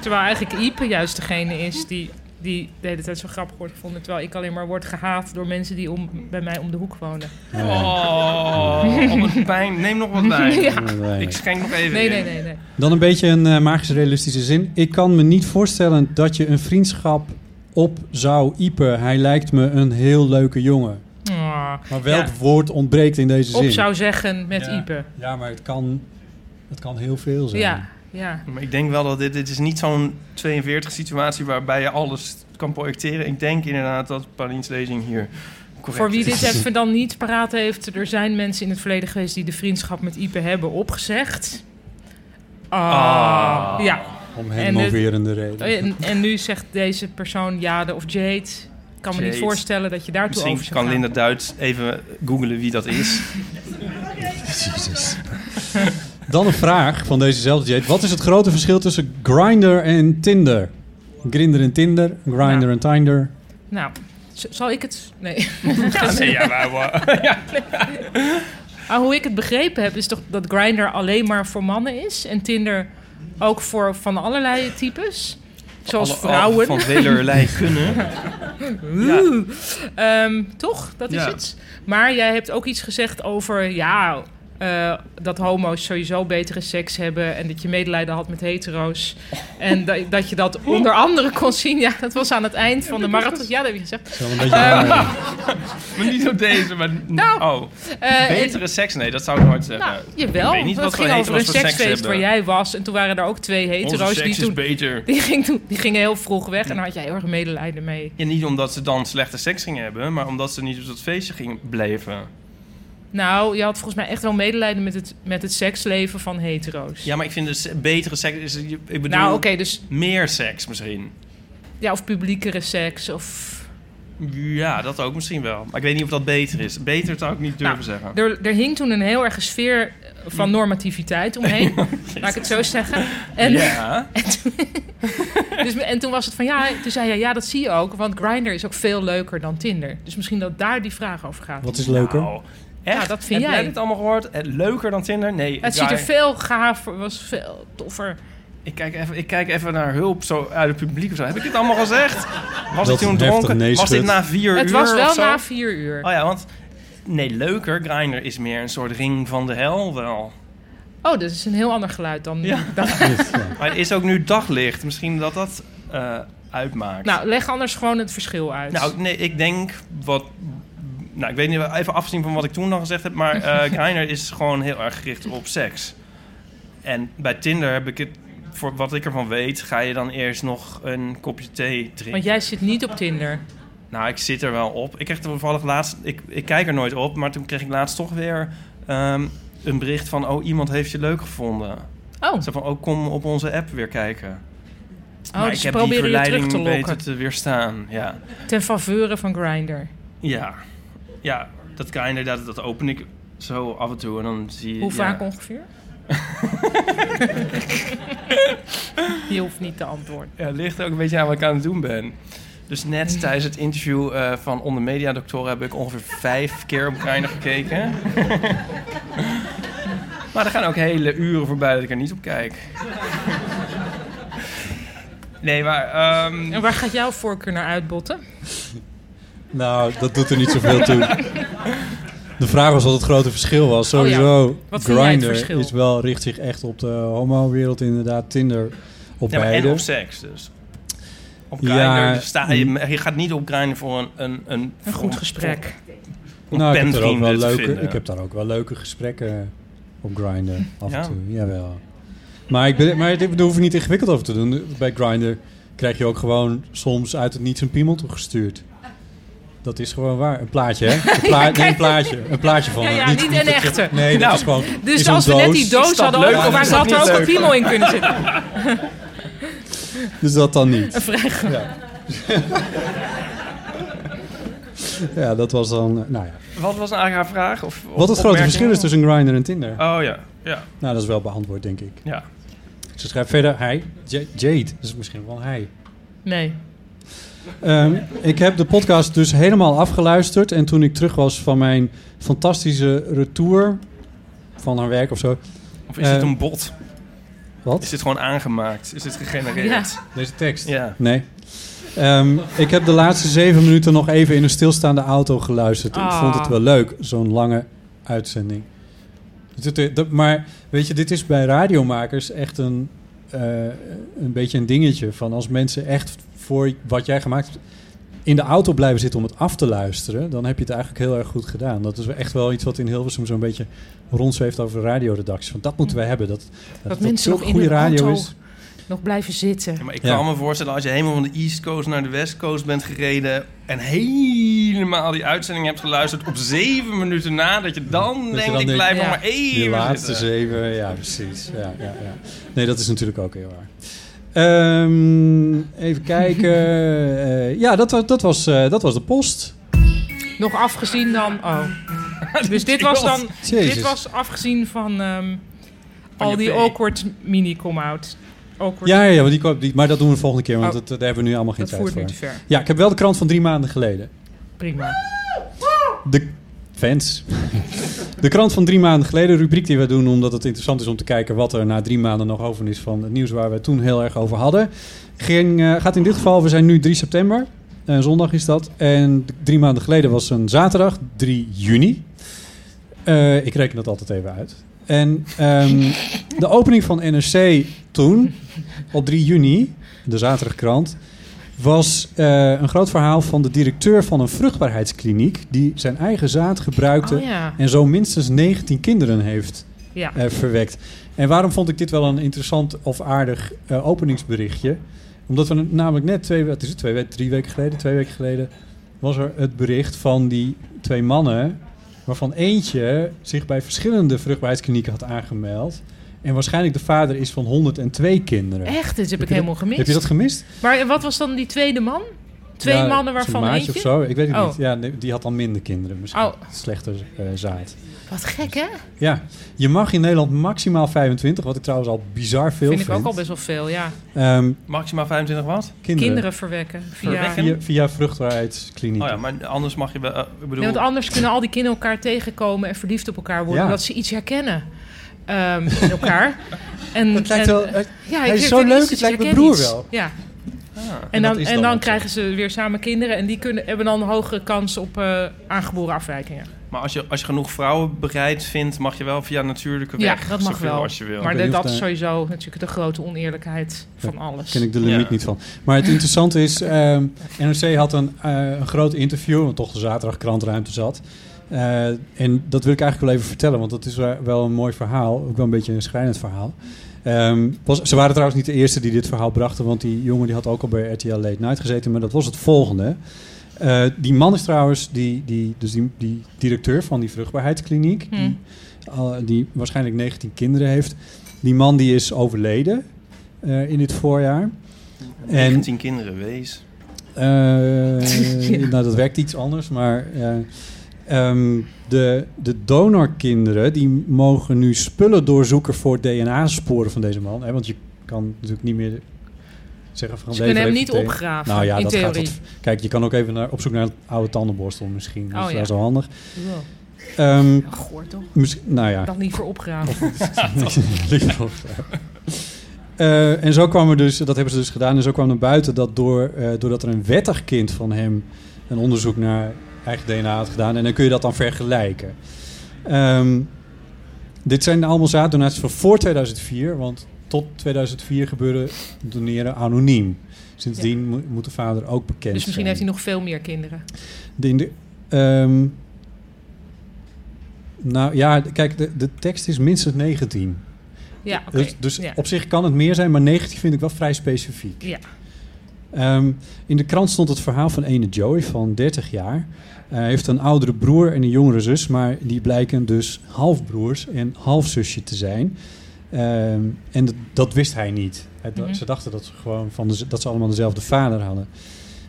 Speaker 5: Terwijl eigenlijk Ipe juist degene is die, die de hele tijd zo grappig wordt gevonden. Terwijl ik alleen maar word gehaat door mensen die om, bij mij om de hoek wonen.
Speaker 3: Eh,
Speaker 4: Oh, op het pijn. Neem nog wat wijn.
Speaker 5: Ja.
Speaker 3: Nee.
Speaker 4: Ik schenk nog even
Speaker 5: Nee,
Speaker 4: in.
Speaker 5: nee, nee, nee.
Speaker 3: Dan een beetje een eh, magisch realistische zin. Ik kan me niet voorstellen dat je een vriendschap op zou iepen. Hij lijkt me een heel leuke jongen.
Speaker 5: Ah.
Speaker 3: Maar welk
Speaker 5: Ja.
Speaker 3: woord ontbreekt in deze zin?
Speaker 5: Op zou zeggen met
Speaker 3: Ja.
Speaker 5: Ipe.
Speaker 3: Ja, maar het kan, het kan heel veel zijn.
Speaker 5: Ja, ja.
Speaker 4: Maar ik denk wel dat dit, dit is niet zo'n 42 situatie waarbij je alles kan projecteren. Ik denk inderdaad dat Paulien's lezing hier correct
Speaker 5: Voor wie
Speaker 4: is.
Speaker 5: dit even dan niet paraat heeft, er zijn mensen in het verleden geweest die de vriendschap met Ipe hebben opgezegd. Ah.
Speaker 4: Ah.
Speaker 5: Ja,
Speaker 3: Om
Speaker 5: En het- Oh
Speaker 3: hemelwerende reden.
Speaker 5: En, en nu zegt deze persoon Jade of Jade. Ik kan me niet
Speaker 4: Jade.
Speaker 5: voorstellen dat je daartoe
Speaker 4: Misschien
Speaker 5: over zou
Speaker 4: kan
Speaker 5: gaan.
Speaker 4: Linda Duits even googelen wie dat is.
Speaker 3: Jezus. Dan een vraag van dezezelfde Jade. Wat is het grote verschil tussen Grindr en Tinder? Grinder en Tinder, Grindr
Speaker 5: Nou.
Speaker 3: en Tinder.
Speaker 5: Nou, Z- Zal ik het... Nee.
Speaker 4: Ja, nee, ja, maar, eh, wa- ja.
Speaker 5: Maar Ah, hoe ik het begrepen heb, is toch dat Grindr alleen maar voor mannen is. En Tinder ook voor van allerlei types. Zoals
Speaker 4: Alle- oh,
Speaker 5: vrouwen.
Speaker 4: Van velerlei kunnen.
Speaker 5: Oeh. Ehm, toch? Dat is
Speaker 4: Ja.
Speaker 5: het. Maar jij hebt ook iets gezegd over... ja, eh, dat homo's sowieso betere seks hebben... en dat je medelijden had met hetero's. En dat, dat je dat onder andere kon zien. Ja, dat was aan het eind van de marathon. Ja, dat heb je gezegd.
Speaker 3: Wel een beetje raar.
Speaker 4: Maar niet op deze, maar...
Speaker 5: Nou,
Speaker 4: oh,
Speaker 5: Eh, en-
Speaker 4: betere seks? Nee, dat zou ik nooit zeggen.
Speaker 5: Nou, jawel.
Speaker 4: Ik weet niet
Speaker 5: want
Speaker 4: wat
Speaker 5: het
Speaker 4: voor
Speaker 5: ging over
Speaker 4: hetero's
Speaker 5: een
Speaker 4: voor seks
Speaker 5: seksfeest waar
Speaker 4: hebben.
Speaker 5: jij was. En toen waren er ook twee
Speaker 4: Onze
Speaker 5: hetero's
Speaker 4: seks
Speaker 5: die
Speaker 4: is
Speaker 5: toen...
Speaker 4: beter.
Speaker 5: Die, ging toen, die gingen heel vroeg weg en daar had jij heel erg medelijden mee.
Speaker 4: Ja, niet omdat ze dan slechte seks gingen hebben, maar omdat ze niet op dat feestje gingen blijven.
Speaker 5: Nou, je had volgens mij echt wel medelijden met het, met het seksleven van hetero's.
Speaker 4: Ja, maar ik vind dus betere seks... Is, ik bedoel,
Speaker 5: nou, oké, dus
Speaker 4: meer seks misschien.
Speaker 5: ja, of publiekere seks of...
Speaker 4: Ja, dat ook misschien wel. Maar ik weet niet of dat beter is. Beter zou ik niet durven
Speaker 5: Nou,
Speaker 4: zeggen.
Speaker 5: Er, er hing toen een heel erge sfeer van normativiteit omheen, laat ik het zo zeggen. En,
Speaker 4: Ja,
Speaker 5: dus, en toen was het van, ja, toen zei jij, ja, dat zie je ook, want Grindr is ook veel leuker dan Tinder. Dus misschien dat daar die vraag over gaat.
Speaker 3: Wat is leuker?
Speaker 4: Nou, echt?
Speaker 5: Ja, dat vind
Speaker 4: Heb
Speaker 5: jij.
Speaker 4: dit allemaal gehoord? Eh, Leuker dan Tinder? Nee.
Speaker 5: Het
Speaker 4: ik- ja,
Speaker 5: ziet er veel gaver, was veel toffer.
Speaker 4: Ik kijk, even, ik kijk even naar hulp zo uit het publiek of zo. Heb ik dit allemaal gezegd? Was
Speaker 3: Dat
Speaker 4: ik toen
Speaker 3: heftig
Speaker 4: dronken?
Speaker 3: nee
Speaker 4: was dit
Speaker 3: schudt.
Speaker 4: na vier
Speaker 5: het
Speaker 4: uur
Speaker 5: was
Speaker 4: of
Speaker 5: wel
Speaker 4: zo?
Speaker 5: na vier uur.
Speaker 4: Oh ja, want... Nee, leuker. Grindr is meer een soort ring van de hel wel.
Speaker 5: Oh, dat is een heel ander geluid dan...
Speaker 4: Ja.
Speaker 5: dan-
Speaker 4: Maar het is ook nu daglicht. Misschien dat dat eh, uitmaakt.
Speaker 5: nou, leg anders gewoon het verschil uit.
Speaker 4: Nou, nee, ik denk wat... Nou, ik weet niet, even afzien van wat ik toen al gezegd heb... maar eh Grindr is gewoon heel erg gericht op seks. En bij Tinder heb ik het... Voor wat ik ervan weet, ga je dan eerst nog een kopje thee drinken.
Speaker 5: Want jij zit niet op Tinder.
Speaker 4: Nou, ik zit er wel op. Ik kreeg toevallig laatst... Ik, ik kijk er nooit op, maar toen kreeg ik laatst toch weer... ehm, een bericht van, oh, iemand heeft je leuk gevonden.
Speaker 5: Oh,
Speaker 4: Zo van, oh, kom op onze app weer kijken.
Speaker 5: oh
Speaker 4: maar
Speaker 5: dus
Speaker 4: ik
Speaker 5: ze
Speaker 4: heb die
Speaker 5: proberen je
Speaker 4: verleiding
Speaker 5: terug te
Speaker 4: beter
Speaker 5: lokken.
Speaker 4: te weerstaan, ja.
Speaker 5: Ten faveur van Grindr.
Speaker 4: Ja, ja dat kan inderdaad, dat open ik zo af en toe en dan zie je...
Speaker 5: Hoe
Speaker 4: ja.
Speaker 5: vaak ongeveer? je hoeft niet te antwoorden.
Speaker 4: Ja, het ligt ook een beetje aan wat ik aan het doen ben. Dus
Speaker 5: Mm.
Speaker 4: net tijdens het interview eh, van Onder Media Doctoren heb ik ongeveer vijf keer op Grindr gekeken. maar er gaan ook hele uren voorbij dat ik er niet op kijk. Nee, maar... ehm,
Speaker 5: En waar gaat jouw voorkeur naar uitbotten?
Speaker 3: Nou, dat doet er niet zoveel toe. De vraag was wat het grote verschil was.
Speaker 5: Oh ja.
Speaker 3: Sowieso,
Speaker 5: Wat vind jij het
Speaker 3: Grindr
Speaker 5: verschil?
Speaker 3: is wel, richt zich echt op de homo-wereld inderdaad. Tinder op
Speaker 4: Ja, maar
Speaker 3: beide.
Speaker 4: en op seks dus. Op Grindr
Speaker 3: Ja.
Speaker 4: sta je, je gaat niet op Grindr voor een, een, een,
Speaker 5: Een
Speaker 3: Oh,
Speaker 5: goed gesprek.
Speaker 4: om
Speaker 3: nou, ik heb, er ook wel
Speaker 4: penvrienden te
Speaker 3: leuke,
Speaker 4: vinden.
Speaker 3: ik heb daar ook wel leuke gesprekken op Grindr af
Speaker 4: Ja.
Speaker 3: en toe. Jawel. Maar, ik ben, maar dit- daar hoef je niet ingewikkeld over te doen. Bij Grindr krijg je ook gewoon soms uit het niets een piemel toegestuurd. Dat is gewoon waar. Een plaatje, hè? Een, pla- nee, een plaatje. Een plaatje van.
Speaker 5: Ja,
Speaker 3: hem.
Speaker 5: ja, niet een
Speaker 3: Oh, dat je-
Speaker 5: echte.
Speaker 3: Nee, dat
Speaker 4: Nou,
Speaker 3: is gewoon... is
Speaker 5: Dus
Speaker 3: een
Speaker 5: als we net
Speaker 3: doos.
Speaker 5: die doos
Speaker 4: Is dat
Speaker 5: hadden,
Speaker 4: leuk
Speaker 5: over,
Speaker 4: of
Speaker 5: waar
Speaker 4: is dat
Speaker 5: zou er
Speaker 4: niet
Speaker 5: ook een
Speaker 4: leuk?
Speaker 5: piemel in kunnen zitten?
Speaker 3: Dus dat dan niet. Een Ja. ja, dat was dan. eh, Nou ja.
Speaker 4: Wat was nou eigenlijk haar vraag? Of, of
Speaker 3: Wat het grote
Speaker 4: opmerking?
Speaker 3: verschil is tussen Grindr en Tinder?
Speaker 4: Oh ja, ja,
Speaker 3: Nou, dat is wel beantwoord, denk ik.
Speaker 4: ja.
Speaker 3: Ze schrijft verder: Hij, J- Jade, dat is misschien wel hij.
Speaker 5: Nee.
Speaker 3: Ehm, ik heb de podcast dus helemaal afgeluisterd. En toen ik terug was van mijn fantastische retour van haar werk of zo.
Speaker 4: Of is
Speaker 3: Eh,
Speaker 4: dit een bot? Is
Speaker 3: Wat?
Speaker 4: dit gewoon aangemaakt? Is dit gegenereerd?
Speaker 3: Deze tekst.
Speaker 4: Ja.
Speaker 3: Nee. Ehm, ik heb de laatste zeven minuten nog even in een stilstaande auto geluisterd. Ik
Speaker 5: Ah.
Speaker 3: vond het wel leuk, zo'n lange uitzending. Dit- dit- dat- Maar weet je, dit is bij radiomakers echt een, eh, een beetje een dingetje. Van als mensen echt voor wat jij gemaakt hebt in de auto blijven zitten om het af te luisteren... dan heb je het eigenlijk heel erg goed gedaan. Dat is echt wel iets wat in Hilversum zo'n beetje rondzweeft over de radioredacties. Van dat moeten wij hebben. Dat, dat,
Speaker 5: Dat
Speaker 3: dat
Speaker 5: mensen nog
Speaker 3: zulke
Speaker 5: in
Speaker 3: goede
Speaker 5: hun
Speaker 3: radio
Speaker 5: auto
Speaker 3: is.
Speaker 5: nog blijven
Speaker 4: Ja,
Speaker 5: zitten.
Speaker 4: maar ik
Speaker 3: Ja.
Speaker 4: kan me voorstellen, als je helemaal van de East Coast naar de West Coast bent gereden... en helemaal die uitzending hebt geluisterd op zeven minuten na... dat je dan
Speaker 3: je
Speaker 4: denkt,
Speaker 3: dan
Speaker 4: ik
Speaker 3: denkt,
Speaker 4: blijf nog
Speaker 5: ja.
Speaker 4: maar even
Speaker 3: Die laatste
Speaker 4: zitten.
Speaker 3: zeven, ja, precies. Ja, ja, ja. Nee, dat is natuurlijk ook heel waar. Ehm, even kijken. Eh, ja, dat, wa- dat, was, eh, dat was de post.
Speaker 5: Nog afgezien dan... Oh. Dus dit was dan...
Speaker 3: Jezus.
Speaker 5: Dit was afgezien van, ehm,
Speaker 4: Van
Speaker 5: al
Speaker 4: je
Speaker 5: die
Speaker 4: P.
Speaker 5: awkward mini-come-out. Awkward.
Speaker 3: Ja, ja, ja, maar, die, kwam- die- maar dat doen we de volgende keer, want
Speaker 5: Oh.
Speaker 3: dat, daar hebben we nu allemaal geen
Speaker 5: dat
Speaker 3: tijd
Speaker 5: voert
Speaker 3: voor.
Speaker 5: nu te ver.
Speaker 3: Ja, ik heb wel de krant van drie maanden geleden.
Speaker 5: prima.
Speaker 3: De fans. De krant van drie maanden geleden, rubriek die we doen omdat het interessant is om te kijken wat er na drie maanden nog over is van het nieuws waar we het toen heel erg over hadden. Ging, eh, gaat in dit geval, we zijn nu 3 september, en zondag is dat. En drie maanden geleden was een zaterdag, 3 juni. Eh, ik reken dat altijd even uit. En ehm, de opening van NRC toen, op 3 juni, de zaterdagkrant, was eh, een groot verhaal van de directeur van een vruchtbaarheidskliniek die zijn eigen zaad gebruikte
Speaker 5: Oh ja.
Speaker 3: en zo minstens 19 kinderen heeft
Speaker 5: Ja.
Speaker 3: eh, verwekt. En waarom vond ik dit wel een interessant of aardig eh, openingsberichtje? Omdat we namelijk net twee, wat is het, twee, we- drie weken geleden, twee weken geleden, was er het bericht van die twee mannen, waarvan eentje zich bij verschillende vruchtbaarheidsklinieken had aangemeld. En waarschijnlijk de vader is van 102 kinderen.
Speaker 5: Echt, dit heb ik
Speaker 3: je
Speaker 5: helemaal
Speaker 3: dat-
Speaker 5: gemist.
Speaker 3: Heb je dat gemist?
Speaker 5: Maar wat was dan die tweede man? Twee
Speaker 3: Ja,
Speaker 5: mannen
Speaker 3: zijn
Speaker 5: waarvan
Speaker 3: maatje
Speaker 5: eentje?
Speaker 3: of zo, ik weet het
Speaker 5: Oh.
Speaker 3: niet. Ja, nee, die had dan minder kinderen. Misschien
Speaker 5: Oh.
Speaker 3: slechter eh, zaad.
Speaker 5: Wat gek, hè?
Speaker 3: Ja, je mag in Nederland maximaal 25, wat ik trouwens al bizar veel
Speaker 5: Vind
Speaker 3: vind.
Speaker 5: ik ook al best wel veel, ja.
Speaker 3: Ehm,
Speaker 4: Maximaal 25 wat?
Speaker 3: kinderen.
Speaker 5: Kinderen verwekken. Via...
Speaker 4: Verwekken?
Speaker 3: Via, via vruchtbaarheidskliniek.
Speaker 4: Oh ja, maar anders mag je wel... eh, ik bedoel,
Speaker 5: Nee, want anders kunnen al die kinderen elkaar tegenkomen en verliefd op elkaar worden.
Speaker 3: Ja.
Speaker 5: Omdat ze iets herkennen ehm, in elkaar. En,
Speaker 3: Het lijkt
Speaker 5: en-
Speaker 3: wel, eh,
Speaker 5: Ja,
Speaker 3: Hij is
Speaker 5: ik
Speaker 3: zo
Speaker 5: vind
Speaker 3: leuk,
Speaker 5: iets,
Speaker 3: het
Speaker 5: ik
Speaker 3: lijkt mijn
Speaker 5: herken
Speaker 3: broer
Speaker 5: iets.
Speaker 3: wel.
Speaker 5: Ja.
Speaker 4: ah,
Speaker 5: En
Speaker 3: dat
Speaker 5: dan,
Speaker 3: is
Speaker 5: en
Speaker 3: dan
Speaker 5: dan
Speaker 3: ook zo.
Speaker 5: krijgen ze weer samen kinderen en die kunnen, hebben dan een hogere kans op eh, aangeboren afwijkingen.
Speaker 4: maar als je, als je genoeg vrouwen bereid vindt, mag je wel via natuurlijke
Speaker 5: Ja,
Speaker 4: weg
Speaker 5: dat mag
Speaker 4: zoveel
Speaker 5: wel.
Speaker 4: als je wil.
Speaker 5: Maar
Speaker 3: Ik weet
Speaker 5: dat,
Speaker 3: niet of
Speaker 5: dat is
Speaker 3: daar-
Speaker 5: sowieso natuurlijk de grote oneerlijkheid van alles.
Speaker 3: ken ik de limiet
Speaker 4: Ja.
Speaker 3: niet van. Maar het interessante is, ehm NRC had een, eh, een groot interview, want toch de zaterdag krantruimte zat. Eh, en dat wil ik eigenlijk wel even vertellen, want dat is wel- wel een mooi verhaal. Ook wel een beetje een schrijnend verhaal. Ehm, pas, ze waren trouwens niet de eerste die dit verhaal brachten, want die jongen die had ook al bij RTL Late Night gezeten. Maar dat was het volgende. Eh, die man is trouwens, die, die, dus die, die directeur van die vruchtbaarheidskliniek,
Speaker 5: Hm. Hmm.
Speaker 3: die, al- die waarschijnlijk 19 kinderen heeft. Die man die is overleden eh, in dit voorjaar. En
Speaker 4: 19 kinderen, wees.
Speaker 3: eh, Nou, dat werkt iets anders, maar eh, ehm, de, de donorkinderen die mogen nu spullen doorzoeken voor DNA-sporen van deze man. Hè? Want je kan natuurlijk niet meer zeggen van
Speaker 5: Ze
Speaker 3: deze
Speaker 5: Dus kunnen hem
Speaker 3: heeft
Speaker 5: niet
Speaker 3: meteen-
Speaker 5: opgraven,
Speaker 3: Nou ja,
Speaker 5: in
Speaker 3: dat gaat
Speaker 5: theorie.
Speaker 3: wat. Kijk, je kan ook even naar, op zoek naar een oude tandenborstel misschien. Dat
Speaker 5: Oh
Speaker 3: is
Speaker 5: ja.
Speaker 3: wel zo handig.
Speaker 5: Wow.
Speaker 3: Ehm,
Speaker 5: Ja, Goor toch?
Speaker 3: misschien- nou ja,
Speaker 5: Dan liever opgraven. Dus
Speaker 3: Liefde voor vrouwen. Eh, en zo kwam er dus, dat hebben ze dus gedaan, en zo kwam er buiten dat door, eh, doordat er een wettig kind van hem een onderzoek naar eigen DNA had gedaan. En dan kun je dat dan vergelijken. Ehm, dit zijn allemaal zaaddonaties van voor 2004, want tot 2004 gebeurde doneren anoniem. Sindsdien mo- moet de vader ook bekend
Speaker 5: dus misschien
Speaker 3: zijn.
Speaker 5: heeft hij nog veel meer kinderen.
Speaker 3: De- in de- ehm, nou ja, d- kijk, de, de tekst is minstens 19.
Speaker 5: Ja, oké.
Speaker 3: Dus, dus
Speaker 5: ja.
Speaker 3: op zich kan het meer zijn, maar 19 vind ik wel vrij specifiek.
Speaker 5: Ja.
Speaker 3: Ehm, in de krant stond het verhaal van ene Joey van 30 jaar. Hij heeft een oudere broer en een jongere zus, maar die blijken dus halfbroers en halfzusje te zijn. Ehm, en dat, dat wist hij niet. Hij dacht-
Speaker 5: Mhm.
Speaker 3: Ze dachten dat ze, gewoon van de- dat ze allemaal dezelfde vader hadden.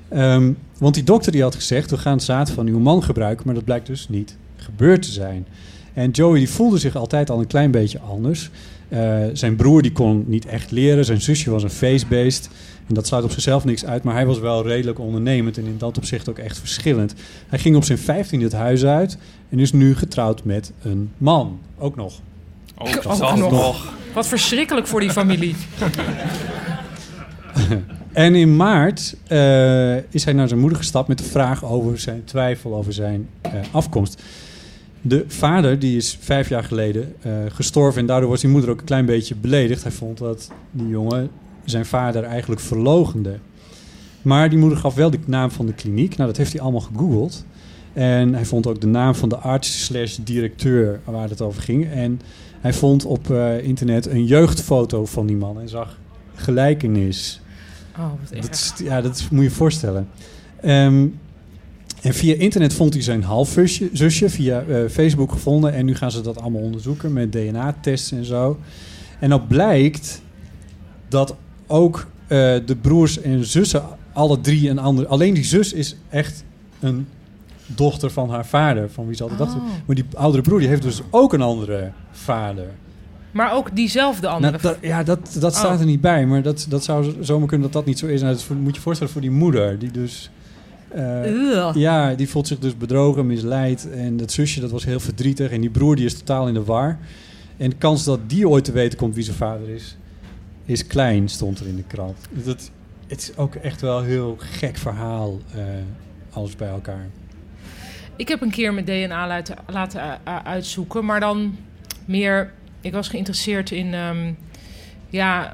Speaker 3: Ehm, want die dokter die had gezegd, we gaan het zaad van uw man gebruiken, maar dat blijkt dus niet gebeurd te zijn. En Joey die voelde zich altijd al een klein beetje anders. Eh, zijn broer die kon niet echt leren, zijn zusje was een feestbeest. En dat sluit op zichzelf niks uit, maar hij was wel redelijk ondernemend en in dat opzicht ook echt verschillend. Hij ging op zijn 15 het huis uit en is nu getrouwd met een man. Ook nog.
Speaker 4: Oh,
Speaker 5: Ook
Speaker 4: dat zal
Speaker 5: nog.
Speaker 4: nog.
Speaker 5: Wat verschrikkelijk voor die familie.
Speaker 3: En in maart eh, is hij naar zijn moeder gestapt met de vraag over zijn twijfel over zijn eh, afkomst. De vader die is vijf jaar geleden eh, gestorven en daardoor was die moeder ook een klein beetje beledigd. Hij vond dat die jongen zijn vader eigenlijk verlogende. Maar die moeder gaf wel de naam van de kliniek. Nou, dat heeft hij allemaal gegoogeld. En hij vond ook de naam van de arts slash directeur waar het over ging. En hij vond op eh, internet een jeugdfoto van die man en zag gelijkenis.
Speaker 5: Oh, wat erg.
Speaker 3: Dat is, ja, dat is- moet je je voorstellen. Ehm, en via internet vond hij zijn halfzusje zusje via eh, Facebook gevonden. En nu gaan ze dat allemaal onderzoeken met DNA-tests en zo. En dan blijkt dat ook eh, de broers en zussen, alle drie een ander. Alleen die zus is echt een dochter van haar vader, van wie ze altijd dachten.
Speaker 5: Oh.
Speaker 3: Maar die oudere broer die heeft dus ook een andere vader.
Speaker 5: Maar ook diezelfde andere.
Speaker 3: Nou, dat- ja, dat, dat staat er niet bij. Maar dat, dat zou z- zomaar kunnen dat dat niet zo is. Nou, dat is voor- moet je voorstellen voor die moeder. Die dus eh, eh,
Speaker 5: Ugh.
Speaker 3: ja, die voelt zich dus bedrogen, misleid. En dat zusje, dat was heel verdrietig. En die broer, die is totaal in de war. En de kans dat die ooit te weten komt wie zijn vader is, is klein, stond er in de krant. Dus Dat, het is ook echt wel een heel gek verhaal, eh, alles bij elkaar.
Speaker 5: Ik heb een keer mijn DNA laten, laten eh, eh, uitzoeken, maar dan meer. Ik was geïnteresseerd in, ehm, ja, eh,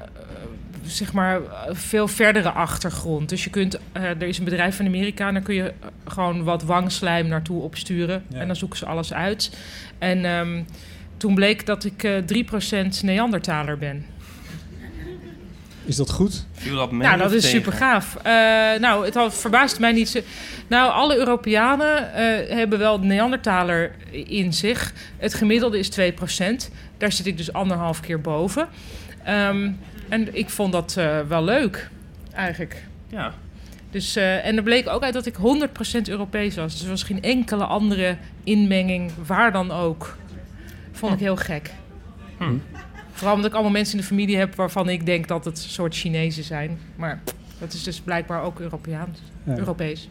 Speaker 5: zeg maar, eh, veel verdere achtergrond. Dus je kunt, eh, er is een bedrijf in Amerika en daar kun je eh, gewoon wat wangslijm naartoe opsturen.
Speaker 3: Ja.
Speaker 5: En dan zoeken ze alles uit. En ehm, toen bleek dat ik eh 3% Neandertaler ben.
Speaker 3: Is dat goed?
Speaker 4: Viel dat mee
Speaker 5: Nou, dat
Speaker 4: of
Speaker 5: is
Speaker 4: tegen?
Speaker 5: super gaaf. nou, het had verbaasd mij niet. zo- Nou, alle Europeanen eh, hebben wel de Neandertaler in zich. Het gemiddelde is 2%. Daar zit ik dus anderhalf keer boven. Ehm, en ik vond dat eh, wel leuk, eigenlijk.
Speaker 4: Ja.
Speaker 5: Dus, eh, en er bleek ook uit dat ik 100% Europees was. Dus er was geen enkele andere inmenging, waar dan ook. Vond ik heel gek.
Speaker 4: Hm.
Speaker 5: Vooral omdat ik allemaal mensen in de familie heb waarvan ik denk dat het soort Chinezen zijn. Maar dat is dus blijkbaar ook Europeaans.
Speaker 3: Ja.
Speaker 5: Europees.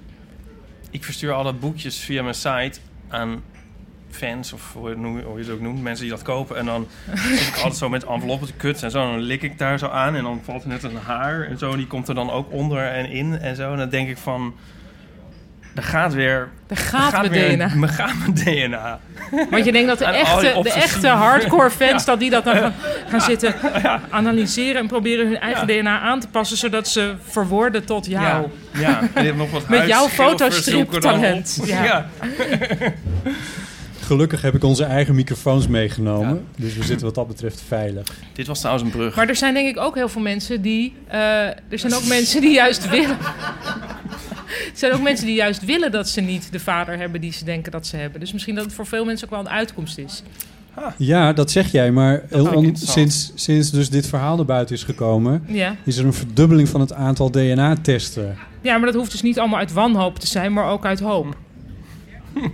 Speaker 4: Ik verstuur alle boekjes via mijn site aan fans, of hoe je het noemt- hoe je het ook noemt, mensen die dat kopen. En dan zit ik altijd zo met enveloppen te kutsen en zo. En dan lik ik daar zo aan en dan valt er net een haar en zo. En die komt er dan ook onder en in en zo. En dan denk ik van, er gaat weer...
Speaker 5: Daar
Speaker 4: er
Speaker 5: gaat, mijn
Speaker 4: weer-
Speaker 5: DNA.
Speaker 4: me gaat mijn DNA.
Speaker 5: Want je denkt dat de
Speaker 4: Aan al die
Speaker 5: echte, de
Speaker 4: obsessieve-
Speaker 5: echte hardcore fans... dat die dat dan gaan, gaan zitten analyseren... en proberen hun eigen DNA aan te passen... zodat ze verwoorden tot jou.
Speaker 4: Ja, ja. En die heeft nog wat
Speaker 5: Nou. Met jouw
Speaker 4: huidschilfers zoeken dan op.
Speaker 5: fotostriptalent.
Speaker 4: Ja.
Speaker 5: Ja.
Speaker 3: Gelukkig heb ik onze eigen microfoons meegenomen. Dus we zitten wat dat betreft veilig.
Speaker 4: Dit was trouwens een brug.
Speaker 5: Maar er zijn denk ik ook heel veel mensen die... eh, er zijn ook mensen die juist willen... Er zijn ook mensen die juist willen dat ze niet de vader hebben die ze denken dat ze hebben. Dus misschien dat het voor veel mensen ook wel een uitkomst is.
Speaker 3: Ja, dat zeg jij, maar heel
Speaker 4: ik
Speaker 3: on-
Speaker 4: interessant.
Speaker 3: sinds, sinds dus dit verhaal naar buiten is gekomen...
Speaker 5: Ja.
Speaker 3: is er een verdubbeling van het aantal DNA-testen.
Speaker 5: ja, maar dat hoeft dus niet allemaal uit wanhoop te zijn, maar ook uit hoop.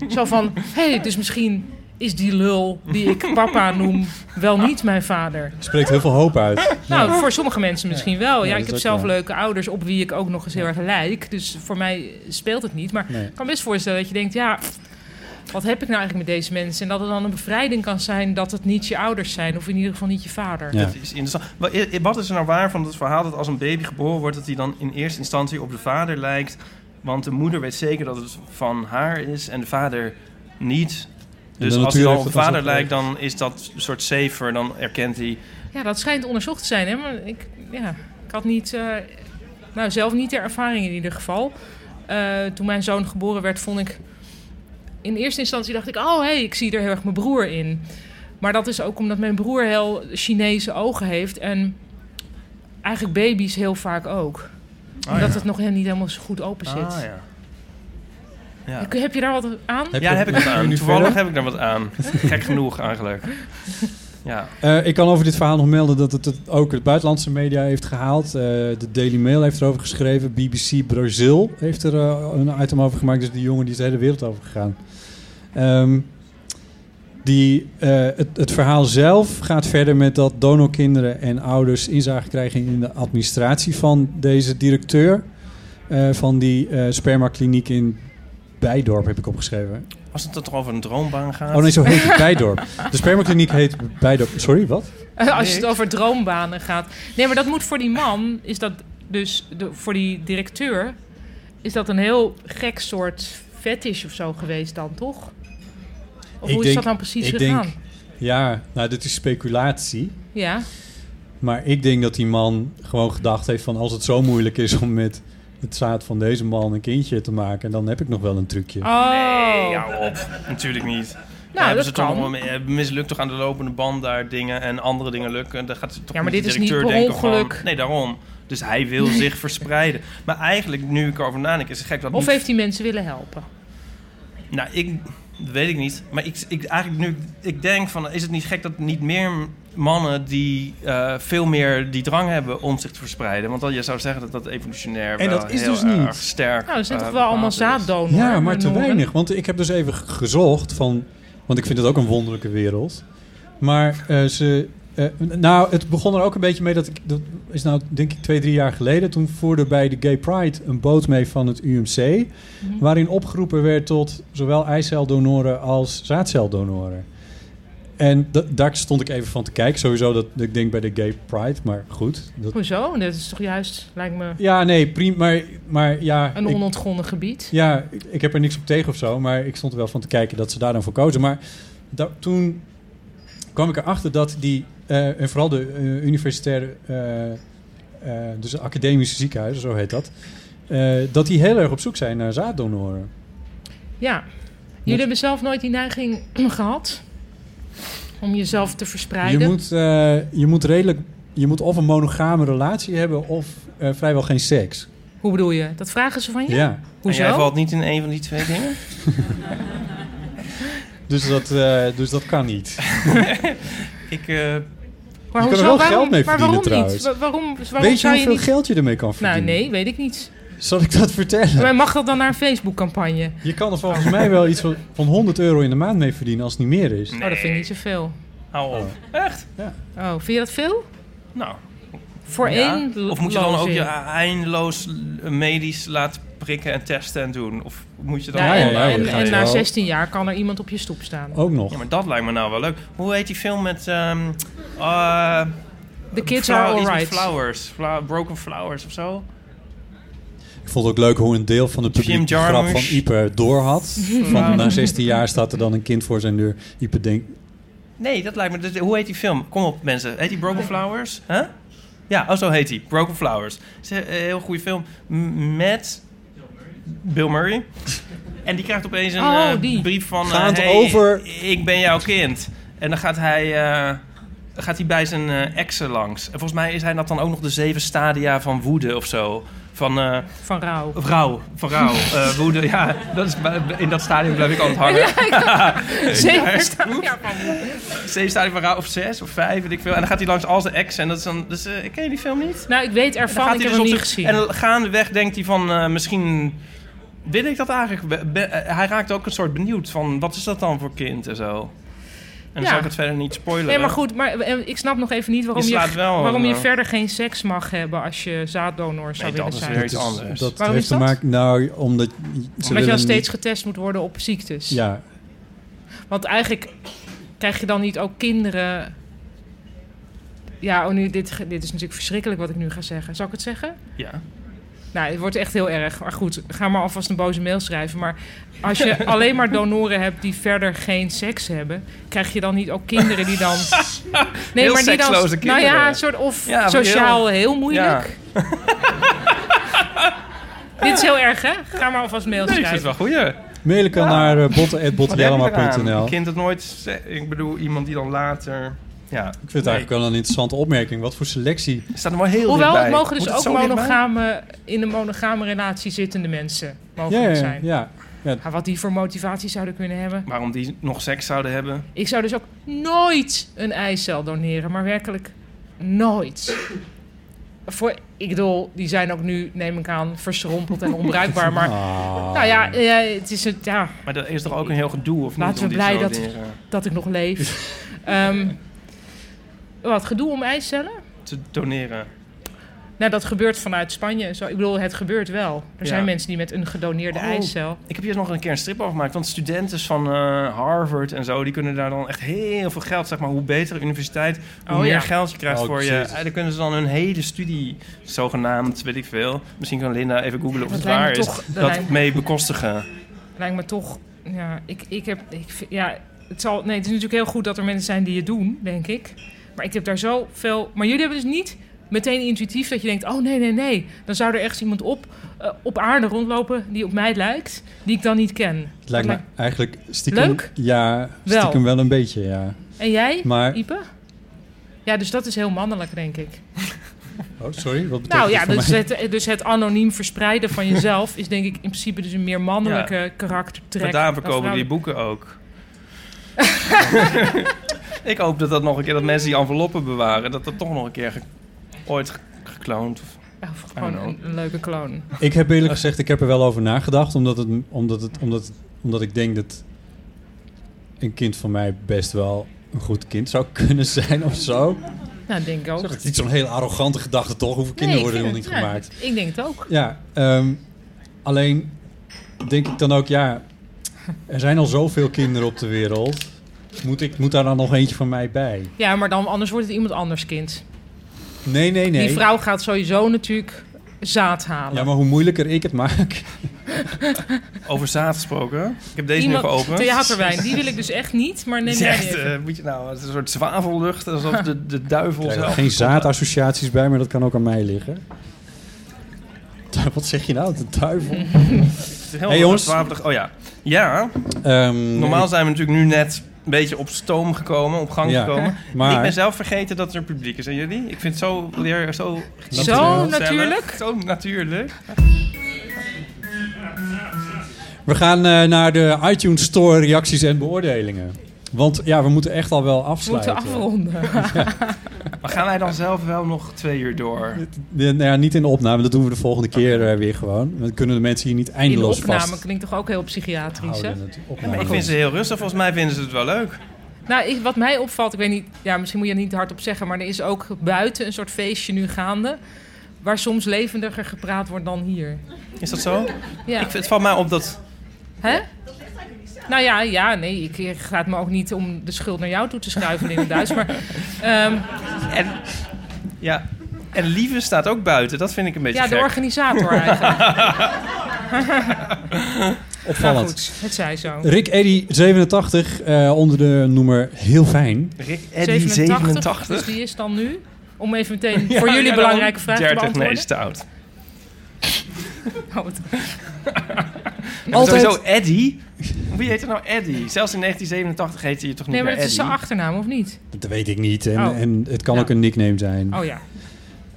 Speaker 5: Zo van, hé, hey, dus misschien is die lul die ik papa noem wel niet mijn vader.
Speaker 3: Spreekt heel veel hoop uit.
Speaker 5: Nou, voor sommige mensen misschien wel.
Speaker 3: Ja,
Speaker 5: Ja,
Speaker 3: dat
Speaker 5: ik
Speaker 3: is
Speaker 5: heb
Speaker 3: ook
Speaker 5: zelf
Speaker 3: waar.
Speaker 5: leuke ouders op wie ik ook nog eens heel erg lijk. Dus voor mij speelt het niet. Maar
Speaker 3: Nee.
Speaker 5: ik kan best voorstellen dat je denkt, ja, wat heb ik nou eigenlijk met deze mensen? En dat het dan een bevrijding kan zijn dat het niet je ouders zijn. Of in ieder geval niet je vader.
Speaker 3: Ja.
Speaker 4: Dat is interessant. Wa- i- i- Wat is er nou waar van het verhaal dat als een baby geboren wordt, dat hij dan in eerste instantie op de vader lijkt? Want de moeder weet zeker dat het van haar is en de vader niet. Dus
Speaker 3: de
Speaker 4: als hij
Speaker 3: natuur
Speaker 4: dan
Speaker 3: heeft
Speaker 4: op de
Speaker 3: dat als
Speaker 4: vader
Speaker 3: een-
Speaker 4: lijkt, dan is dat een soort safer. Dan erkent hij.
Speaker 5: Ja, dat schijnt onderzocht te zijn. Hè? Maar ik, ja, ik had niet, eh, nou, zelf niet de ervaring in ieder geval. Eh, toen mijn zoon geboren werd, vond ik... In eerste instantie dacht ik, oh hé, hey, ik zie er heel erg mijn broer in. Maar dat is ook omdat mijn broer heel Chinese ogen heeft. En eigenlijk baby's heel vaak ook.
Speaker 4: Ah,
Speaker 5: omdat
Speaker 4: ja.
Speaker 5: het nog helemaal niet helemaal zo goed open zit.
Speaker 4: Ah, ja. Ja.
Speaker 5: Ik- Heb je daar wat aan?
Speaker 4: ja, daar heb ik wat aan.
Speaker 3: nu
Speaker 4: Toevallig
Speaker 3: verder?
Speaker 4: heb ik daar wat aan. Gek genoeg eigenlijk. Ja.
Speaker 3: Eh, ik kan over dit verhaal nog melden dat het het ook het buitenlandse media heeft gehaald. Eh, de Daily Mail heeft erover geschreven. BBC Brazil heeft er eh, een item over gemaakt. Dus die jongen die is de hele wereld over gegaan. Ehm, die, eh, het, het verhaal zelf gaat verder met dat donorkinderen en ouders inzage krijgen in de administratie van deze directeur. eh, van die eh spermakliniek in Bijdorp heb ik opgeschreven.
Speaker 4: Als het toch over een droombaan gaat.
Speaker 3: Oh nee, zo heet het, Bijdorp. De spermakliniek heet Bijdorp. Sorry, wat?
Speaker 5: Als het over droombanen gaat. Nee, maar dat moet voor die man, is dat dus de, voor die directeur, is dat een heel gek soort fetish of zo geweest dan, toch? Of
Speaker 3: Ik
Speaker 5: hoe is
Speaker 3: denk-
Speaker 5: dat dan precies
Speaker 3: ik
Speaker 5: gegaan?
Speaker 3: denk- Ja, nou, dit is speculatie.
Speaker 5: Ja,
Speaker 3: Maar ik denk dat die man gewoon gedacht heeft van... als het zo moeilijk is om met het zaad van deze man een kindje te maken... dan heb ik nog wel een trucje.
Speaker 5: oh. Nou,
Speaker 4: Nee, ja, op. Natuurlijk niet. Dan hebben
Speaker 5: dat
Speaker 4: ze toch
Speaker 5: kan.
Speaker 4: allemaal- eh, mislukt toch aan de lopende band daar dingen en andere dingen lukken. Dan gaat ze toch
Speaker 5: Ja, maar
Speaker 4: niet
Speaker 5: dit
Speaker 4: de
Speaker 5: is niet
Speaker 4: directeur
Speaker 5: per
Speaker 4: denken van-
Speaker 5: ongeluk.
Speaker 4: nee, daarom. Dus hij wil zich verspreiden. Maar eigenlijk, nu ik erover nadenk, is het gek dat...
Speaker 5: Of
Speaker 4: niet-
Speaker 5: heeft hij mensen willen helpen?
Speaker 4: Nou, ik... Dat weet ik niet. Maar ik, ik, eigenlijk nu... Ik denk van, is het niet gek dat niet meer mannen die eh, veel meer die drang hebben om zich te verspreiden? Want dan, je zou zeggen dat dat evolutionair
Speaker 3: En
Speaker 4: wel
Speaker 3: dat is
Speaker 4: heel
Speaker 3: dus
Speaker 4: erg
Speaker 3: niet.
Speaker 4: sterk
Speaker 5: Nou, er zijn
Speaker 4: eh,
Speaker 5: toch wel allemaal
Speaker 4: bepaald is.
Speaker 5: zaaddonoren?
Speaker 3: ja, maar te
Speaker 5: donoren?
Speaker 3: weinig. Want ik heb dus even g- gezocht van... want ik vind het ook een wonderlijke wereld. Maar eh, ze, Eh, nou, het begon er ook een beetje mee dat ik... Dat is nou, denk ik, twee, drie jaar geleden. Toen voerde bij de Gay Pride een boot mee van het UMC... waarin opgeroepen werd tot zowel eiceldonoren als zaadceldonoren. En da- daar stond ik even van te kijken. Sowieso dat ik denk bij de Gay Pride, maar goed. Dat,
Speaker 5: Hoezo? Dat is toch juist, lijkt me,
Speaker 3: ja, nee, prima. Maar, maar ja...
Speaker 5: een
Speaker 3: ik-
Speaker 5: onontgonnen gebied.
Speaker 3: ja, ik, ik heb er niks op tegen of zo, maar ik stond er wel van te kijken dat ze daar dan voor kozen. Maar da- toen kwam ik erachter dat die, eh, en vooral de eh, universitaire, eh, eh, dus de academische ziekenhuizen, zo heet dat, eh, dat die heel erg op zoek zijn naar zaaddonoren.
Speaker 5: Ja. Jullie hebben zelf nooit die neiging gehad om jezelf te
Speaker 3: Je
Speaker 5: verspreiden.
Speaker 3: moet, eh, je moet redelijk, je moet of een monogame relatie hebben of eh, vrijwel geen seks.
Speaker 5: Hoe bedoel je? Dat vragen ze van je?
Speaker 3: ja.
Speaker 5: Hoezo?
Speaker 4: En jij valt niet in een van die twee dingen?
Speaker 3: Dus, dat, eh, dus dat kan niet.
Speaker 4: Ik, eh,
Speaker 5: Maar
Speaker 3: Je kan er
Speaker 5: hoezo?
Speaker 3: wel
Speaker 5: waarom,
Speaker 3: geld mee
Speaker 5: maar
Speaker 3: verdienen
Speaker 5: waarom
Speaker 3: trouwens.
Speaker 5: niet? Wa- Waarom, waarom
Speaker 3: Weet je
Speaker 5: zou je,
Speaker 3: hoeveel
Speaker 5: niet...
Speaker 3: geld je ermee kan verdienen?
Speaker 5: Nou, nee, weet ik niet.
Speaker 3: Zal ik dat vertellen?
Speaker 5: Maar mag dat dan naar een Facebook-campagne?
Speaker 3: Je kan er volgens mij wel iets van, van 100 euro in de maand mee verdienen als het niet meer is.
Speaker 5: Oh, dat vind ik niet zoveel.
Speaker 4: hou op. Echt?
Speaker 5: Oh, vind je dat veel?
Speaker 4: Nou,
Speaker 5: Voor
Speaker 4: ja.
Speaker 5: één lo-
Speaker 4: Of moet je dan ook
Speaker 5: lozing?
Speaker 4: je eindeloos eh, medisch laten prikken en testen en doen? Of moet je dan...
Speaker 5: Ja,
Speaker 3: Ja,
Speaker 5: en,
Speaker 3: ja, ja,
Speaker 5: en-
Speaker 3: dat ga je
Speaker 5: en na
Speaker 3: wel.
Speaker 5: 16 jaar kan er iemand op je stoep staan.
Speaker 3: Ook nog.
Speaker 4: Ja, maar dat lijkt me nou wel leuk. Hoe heet die film met... ehm eh,
Speaker 5: The kids
Speaker 4: flower-
Speaker 5: are
Speaker 4: iets met
Speaker 5: alright.
Speaker 4: Flowers. Fla- broken Flowers of zo?
Speaker 3: Ik vond het ook leuk hoe een deel van het
Speaker 4: Jim
Speaker 3: publiek de grap
Speaker 4: Jarmusch.
Speaker 3: van Ieper door had. Van na 16 jaar staat er dan een kind voor zijn deur. Ieper denkt,
Speaker 4: Nee, dat lijkt me... dus- hoe heet die film? Kom op, mensen. Heet die Broken Flowers? Huh? Ja, oh, zo heet die. Broken Flowers. Is een eh, heel goede film. M- met... Bill Murray. En die krijgt opeens een
Speaker 5: Oh,
Speaker 4: eh,
Speaker 5: die.
Speaker 4: brief van... eh,
Speaker 3: Gaand
Speaker 4: hey,
Speaker 3: over-
Speaker 4: Ik ben jouw kind. En dan gaat hij... eh, gaat hij bij zijn eh, exen langs. En volgens mij is hij dat dan ook nog de zeven stadia van woede of zo. Van... eh,
Speaker 5: Van rouw.
Speaker 4: Vrouw, van rouw, eh, woede. Ja, dat is, in dat stadium blijf ik altijd hangen.
Speaker 5: Zeven
Speaker 4: Zeven stadium van rouw, of zes, of vijf, weet ik veel. En dan gaat hij langs al zijn ex en dat is dan... Dus, eh, ik ken die film niet.
Speaker 5: Nou, ik weet
Speaker 4: En dan
Speaker 5: ervan,
Speaker 4: gaat
Speaker 5: ik
Speaker 4: hij dus
Speaker 5: heb hem niet
Speaker 4: op
Speaker 5: gezien.
Speaker 4: En dan gaandeweg denkt hij van, eh, misschien... Wil ik dat eigenlijk? Be- be- eh, hij raakt ook een soort benieuwd van, wat is dat dan voor kind en zo. En dan
Speaker 5: Ja.
Speaker 4: zal ik het verder niet spoileren.
Speaker 5: Nee, maar goed, maar eh, ik snap nog even niet waarom
Speaker 4: Je
Speaker 5: je,
Speaker 4: slaat wel,
Speaker 5: waarom je
Speaker 4: eh,
Speaker 5: verder geen seks mag hebben als je zaaddonor zou
Speaker 4: Nee, dat
Speaker 5: willen
Speaker 4: is
Speaker 5: zijn.
Speaker 4: weer
Speaker 3: dat,
Speaker 4: iets
Speaker 3: is,
Speaker 4: anders.
Speaker 3: dat
Speaker 5: Waarom
Speaker 3: heeft
Speaker 5: is
Speaker 3: te
Speaker 5: dat?
Speaker 3: maken... Nou, omdat ze
Speaker 5: Omdat je
Speaker 3: willen
Speaker 5: dan steeds
Speaker 3: niet-
Speaker 5: getest moet worden op ziektes.
Speaker 3: Ja,
Speaker 5: Want eigenlijk krijg je dan niet ook kinderen. Ja, oh nu, dit, ge- dit is natuurlijk verschrikkelijk wat ik nu ga zeggen. Zal ik het zeggen?
Speaker 4: Ja.
Speaker 5: Nou, het wordt echt heel erg. Maar goed, ga maar alvast een boze mail schrijven. Maar als je alleen maar donoren hebt die verder geen seks hebben, krijg je dan niet ook kinderen die dan. Nee,
Speaker 4: Heel
Speaker 5: die dan.
Speaker 4: seksloze
Speaker 5: Nou
Speaker 4: kinderen.
Speaker 5: ja, een soort of
Speaker 4: Ja, maar
Speaker 5: sociaal heel, moeilijk. Dit is heel erg, hè? Ga maar alvast mail
Speaker 4: Nee, ik vind het
Speaker 5: schrijven.
Speaker 4: wel goeie.
Speaker 3: mailen kan naar eh,
Speaker 4: Wat heb je eraan?
Speaker 3: botten.bottenjellema.nl
Speaker 4: Een kind dat nooit... ze- Ik bedoel, iemand die dan later... Ja,
Speaker 3: Ik vind het eigenlijk wel een interessante opmerking. Wat voor selectie.
Speaker 4: staat er wel heel
Speaker 5: Hoewel,
Speaker 4: dichtbij.
Speaker 5: het mogen dus
Speaker 4: Moet het
Speaker 5: ook
Speaker 4: zo dichtbij?
Speaker 5: monogame, in een monogame relatie zittende mensen
Speaker 3: Ja,
Speaker 5: mogelijk
Speaker 3: ja,
Speaker 5: zijn.
Speaker 3: ja.
Speaker 5: Ja, wat die voor motivatie zouden kunnen hebben.
Speaker 4: waarom die nog seks zouden hebben.
Speaker 5: Ik zou dus ook nooit een eicel doneren, maar werkelijk nooit. Voor, ik bedoel, die zijn ook nu, neem ik aan, verschrompeld en onbruikbaar. Maar
Speaker 3: Ah.
Speaker 5: nou ja, eh, het is het, ja,
Speaker 4: Maar er is toch ook een heel gedoe, of
Speaker 5: Laten
Speaker 4: niet?
Speaker 5: we
Speaker 4: om die
Speaker 5: blij
Speaker 4: zo
Speaker 5: dat-
Speaker 4: dingen
Speaker 5: dat ik nog leef. Ehm, wat gedoe om eicellen?
Speaker 4: te doneren.
Speaker 5: Nou, dat gebeurt vanuit Spanje. en Zo, ik bedoel, het gebeurt wel. Er
Speaker 4: Ja.
Speaker 5: zijn mensen die met een gedoneerde
Speaker 4: Oh.
Speaker 5: eicel.
Speaker 4: Ik heb hier nog een keer een strip over gemaakt. Want studenten van eh, Harvard en zo, die kunnen daar dan echt heel veel geld, zeg maar, hoe beter de universiteit, hoe
Speaker 5: Oh,
Speaker 4: meer
Speaker 5: ja.
Speaker 4: geld je krijgt
Speaker 3: Oh,
Speaker 4: voor je.
Speaker 3: precies.
Speaker 4: En dan kunnen ze dan hun hele studie, zogenaamd, weet ik veel. Misschien kan Linda even googlen of
Speaker 5: Dat
Speaker 4: het
Speaker 5: lijkt
Speaker 4: waar
Speaker 5: me
Speaker 4: is.
Speaker 5: toch- dat
Speaker 4: dat
Speaker 5: lijkt-
Speaker 4: mee bekostigen.
Speaker 5: Lijkt me toch, ja, ik, ik heb, ik, vind- ja, het zal, nee, het is natuurlijk heel goed dat er mensen zijn die het doen, denk ik. Maar ik heb daar zoveel, maar jullie hebben dus niet meteen intuïtief dat je denkt, oh nee, nee, nee. Dan zou er echt iemand op, eh, op aarde rondlopen die op mij lijkt, die ik dan niet ken.
Speaker 3: Het lijkt me
Speaker 5: Dat
Speaker 3: eigenlijk stiekem...
Speaker 5: Leuk?
Speaker 3: Ja,
Speaker 5: Wel.
Speaker 3: stiekem wel een beetje, ja.
Speaker 5: En jij,
Speaker 3: Maar...
Speaker 5: Ipe? Ja, dus dat is heel mannelijk, denk ik.
Speaker 3: Oh, sorry. Wat betekent
Speaker 5: Nou ja,
Speaker 3: dat voor
Speaker 5: dus
Speaker 3: mij?
Speaker 5: het, dus het anoniem verspreiden van jezelf is denk ik in principe dus een meer mannelijke karaktertrek.
Speaker 4: Maar daarom
Speaker 5: dan
Speaker 4: verkopen die
Speaker 5: vrouwelijk.
Speaker 4: boeken ook. ik hoop dat dat nog een keer, dat mensen die enveloppen bewaren, dat dat toch nog een keer ge- ooit ge- gekloond. Of,
Speaker 5: Of gewoon een, een leuke kloon.
Speaker 3: Ik heb eerlijk gezegd, ik heb er wel over nagedacht. Omdat, het, omdat, het, omdat, het- omdat ik denk dat een kind van mij best wel een goed kind zou kunnen zijn of zo.
Speaker 5: Nou, denk ik ook.
Speaker 3: Dat is niet zo'n hele arrogante gedachte toch? Hoeveel kinderen
Speaker 5: Nee, ik
Speaker 3: worden er nog
Speaker 5: vind
Speaker 3: niet
Speaker 5: het- ja,
Speaker 3: gemaakt?
Speaker 5: Ik denk het ook.
Speaker 3: Ja, ehm, alleen denk ik dan ook, ja, er zijn al zoveel kinderen op de wereld. Moet, ik, moet daar dan nog eentje van mij bij?
Speaker 5: Ja, maar dan anders wordt het iemand anders kind.
Speaker 3: Nee, nee, nee.
Speaker 5: Die vrouw gaat sowieso natuurlijk zaad halen.
Speaker 3: Ja, maar hoe moeilijker ik het maak.
Speaker 4: Over zaad gesproken. Ik heb deze
Speaker 5: Iemand-
Speaker 4: nu geopend.
Speaker 5: Theaterwijn, die wil ik dus echt niet, maar
Speaker 4: Het
Speaker 5: neem
Speaker 4: is
Speaker 5: jij
Speaker 4: echt,
Speaker 5: die even.
Speaker 4: eh, moet je nou, het is een soort zwavellucht, alsof de, de duivel
Speaker 3: Ik krijg
Speaker 4: zelf...
Speaker 3: er geen zaadassociaties bij, maar dat kan ook aan mij liggen. Wat zeg je nou? De duivel.
Speaker 4: Heel
Speaker 3: Hey, jongens.
Speaker 4: zwaverig- Oh ja. Ja,
Speaker 3: Ehm,
Speaker 4: normaal zijn we natuurlijk nu net een beetje op stoom gekomen, op gang
Speaker 3: Ja,
Speaker 4: gekomen.
Speaker 3: maar-
Speaker 4: Ik ben zelf vergeten dat er publiek is. En jullie? Ik vind het zo weer zo...
Speaker 5: Zo
Speaker 4: gezellig.
Speaker 5: natuurlijk.
Speaker 4: Zo natuurlijk.
Speaker 3: We gaan eh, naar de iTunes Store reacties en beoordelingen. Want ja, we moeten echt al wel
Speaker 5: We moeten
Speaker 3: afsluiten.
Speaker 5: afronden.
Speaker 4: Maar gaan wij dan zelf wel nog twee uur door?
Speaker 3: De- nou ja, niet in de opname, dat doen we de volgende keer eh, weer gewoon. Dan kunnen de mensen hier niet
Speaker 5: In de
Speaker 3: eindeloos
Speaker 5: opname
Speaker 3: vast
Speaker 5: klinkt toch ook heel psychiatrisch, hè?
Speaker 3: houden. het
Speaker 4: Ja, maar
Speaker 3: opname.
Speaker 4: ik vind ze heel rustig. Volgens mij vinden ze het wel leuk.
Speaker 5: Nou, ik- wat mij opvalt, ik weet niet, ja, misschien moet je het niet hardop zeggen, maar er is ook buiten een soort feestje nu gaande. Waar soms levendiger gepraat wordt dan hier.
Speaker 4: Is dat zo?
Speaker 5: Ja.
Speaker 4: Ik, het valt mij op dat...
Speaker 5: Hè? Nou ja, ja, nee, ik, ik ga het me ook niet om de schuld naar jou toe te schuiven in het Duits. Maar ehm,
Speaker 4: En, ja, en Lieve staat ook buiten. Dat vind ik een beetje
Speaker 5: ja, de
Speaker 4: gek.
Speaker 5: organisator eigenlijk. Nou
Speaker 3: Opvallend.
Speaker 5: goed, het zij zo.
Speaker 3: Rick Eddy 87 eh, onder de noemer Heel Fijn.
Speaker 4: Rick Eddy
Speaker 5: Dus
Speaker 4: 87.
Speaker 5: die is dan nu, om even meteen
Speaker 4: Ja,
Speaker 5: voor jullie
Speaker 4: ja,
Speaker 5: belangrijke
Speaker 4: daarom.
Speaker 5: vraag te
Speaker 4: 30, nee,
Speaker 5: beantwoorden.
Speaker 4: is te oud.
Speaker 5: Oh, wat-
Speaker 3: Altijd-
Speaker 4: Sowieso Eddy. Wie heet er nou Eddy? Zelfs in 1987 heette je toch niet
Speaker 5: Nee, maar
Speaker 4: meer
Speaker 5: het is
Speaker 4: Eddy?
Speaker 5: zijn achternaam, of niet?
Speaker 3: Dat weet ik niet en,
Speaker 5: Oh.
Speaker 3: en het kan
Speaker 5: Ja.
Speaker 3: ook een nickname zijn.
Speaker 5: Oh ja.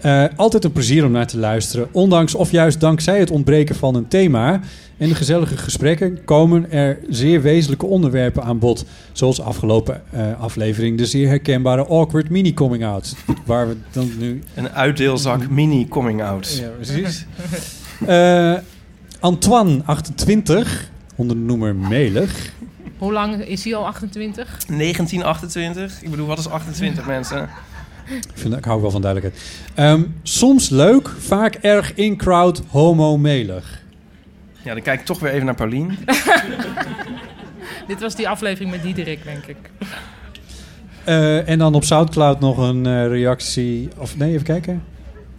Speaker 3: Eh, altijd een plezier om naar te luisteren. Ondanks of juist dankzij het ontbreken van een thema en de gezellige gesprekken komen er zeer wezenlijke onderwerpen aan bod. Zoals afgelopen eh, aflevering de zeer herkenbare awkward mini coming out. Waar we dan nu.
Speaker 4: Een uitdeelzak mini coming out.
Speaker 3: Ja, precies. Eh, Antoine 28 onder de noemer Melig.
Speaker 5: Hoe lang is hij al 28?
Speaker 4: 1928. Ik bedoel, wat is 28 mensen?
Speaker 3: Ik, vind, ik hou wel van duidelijkheid. Ehm, soms leuk, vaak erg in crowd homo Melig.
Speaker 4: Ja, dan kijk ik toch weer even naar Paulien.
Speaker 5: Dit was die aflevering met Diederik, denk ik.
Speaker 3: Eh, en dan op Soundcloud nog een eh, reactie. Of nee, even kijken.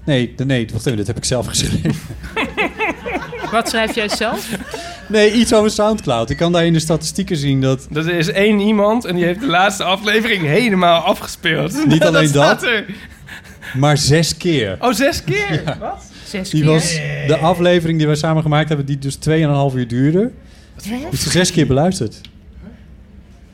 Speaker 3: Nee, de- nee, wacht even, dit heb ik zelf geschreven.
Speaker 5: Wat schrijf jij zelf?
Speaker 3: Nee, iets over Soundcloud. Ik kan daar in de statistieken zien dat.
Speaker 4: Er is één iemand en die heeft de laatste aflevering helemaal afgespeeld.
Speaker 3: Niet alleen
Speaker 4: staat
Speaker 3: dat.
Speaker 4: er.
Speaker 3: Maar zes keer.
Speaker 4: Oh, zes keer? Wat?
Speaker 5: Zes
Speaker 3: Die
Speaker 5: keer.
Speaker 3: was de aflevering die wij samen gemaakt hebben, die dus 2,5 uur duurde. Is zes keer beluisterd.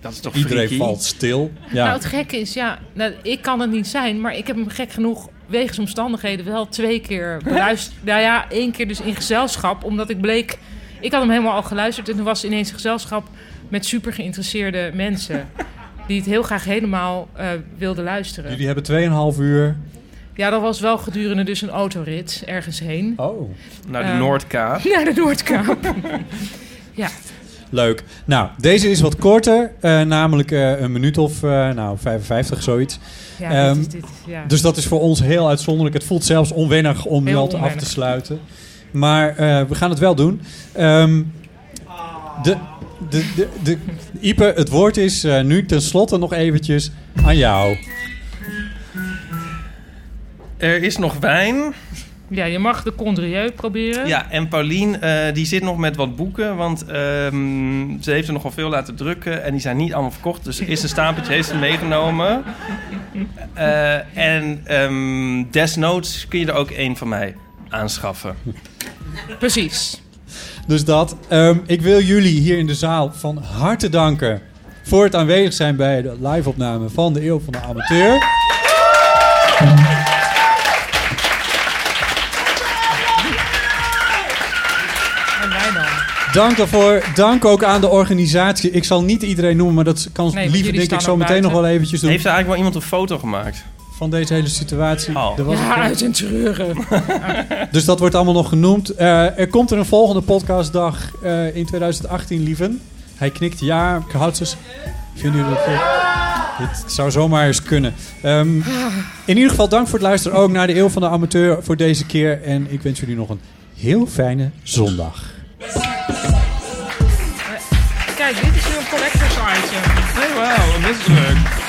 Speaker 4: Dat is toch
Speaker 3: Iedereen
Speaker 4: freaky?
Speaker 3: valt stil.
Speaker 5: Nou,
Speaker 3: Ja.
Speaker 5: het gekke is, ja, nou, ik kan het niet zijn, maar ik heb hem gek genoeg wegens omstandigheden wel twee keer beluisterd. nou ja, één keer dus in gezelschap, omdat ik bleek, ik had hem helemaal al geluisterd en toen was ineens een gezelschap met super geïnteresseerde mensen. Die het heel graag helemaal eh, wilden luisteren.
Speaker 3: Jullie hebben 2,5 uur.
Speaker 5: Ja, dat was wel gedurende dus een autorit ergens heen.
Speaker 3: Oh.
Speaker 4: Naar de
Speaker 5: Ehm.
Speaker 4: Noordkaap.
Speaker 5: Naar de Noordkaap.
Speaker 3: Leuk. Nou, deze is wat korter, eh, namelijk eh, een minuut of eh, nou, 55, zoiets.
Speaker 5: Ja,
Speaker 3: Ehm,
Speaker 5: dit is dit. Ja.
Speaker 3: Dus dat is voor ons heel uitzonderlijk. Het voelt zelfs onwennig om nu
Speaker 5: Heel
Speaker 3: al te af
Speaker 5: onwennig.
Speaker 3: te sluiten. Maar eh, we gaan het wel doen. Ehm, de, de, de, de, Ipe, het woord is eh, nu tenslotte nog eventjes aan jou.
Speaker 4: Er is nog wijn.
Speaker 5: ja, je mag de Condrieu proberen.
Speaker 4: Ja, en Paulien eh, die zit nog met wat boeken, want ehm, ze heeft er nogal veel laten drukken en die zijn niet allemaal verkocht. Dus er is een stapeltje heeft ze meegenomen. Eh, en ehm, desnoods kun je er ook één van mij aanschaffen.
Speaker 5: Precies.
Speaker 3: Dus dat. Ehm, ik wil jullie hier in de zaal van harte danken voor het aanwezig zijn bij de live-opname van de Eeuw van de Amateur.
Speaker 5: En wij dan.
Speaker 3: Dank daarvoor. Dank ook aan de organisatie. Ik zal niet iedereen noemen, maar dat kan
Speaker 5: want
Speaker 3: liever
Speaker 5: jullie
Speaker 3: denk ik
Speaker 5: staan
Speaker 3: zo
Speaker 5: ook
Speaker 3: meteen nog
Speaker 5: buiten.
Speaker 3: wel eventjes doen.
Speaker 4: Heeft er eigenlijk wel iemand een foto gemaakt?
Speaker 3: Van deze hele situatie.
Speaker 4: Oh.
Speaker 3: Er was-
Speaker 5: Ja, uit en treuren.
Speaker 3: Dus dat wordt allemaal nog genoemd. Eh, er komt er een volgende podcastdag eh, in 2018, lieven. Hij knikt ja. Ik houd ze. Vinden jullie dat goed? Het zou zomaar eens kunnen. Ehm, in ieder geval dank voor het luisteren ook naar de Eeuw van de Amateur voor deze keer. En ik wens jullie nog een heel fijne zondag.
Speaker 5: Kijk, dit is nu een collector's item.
Speaker 4: Hey, wauw, dit is leuk.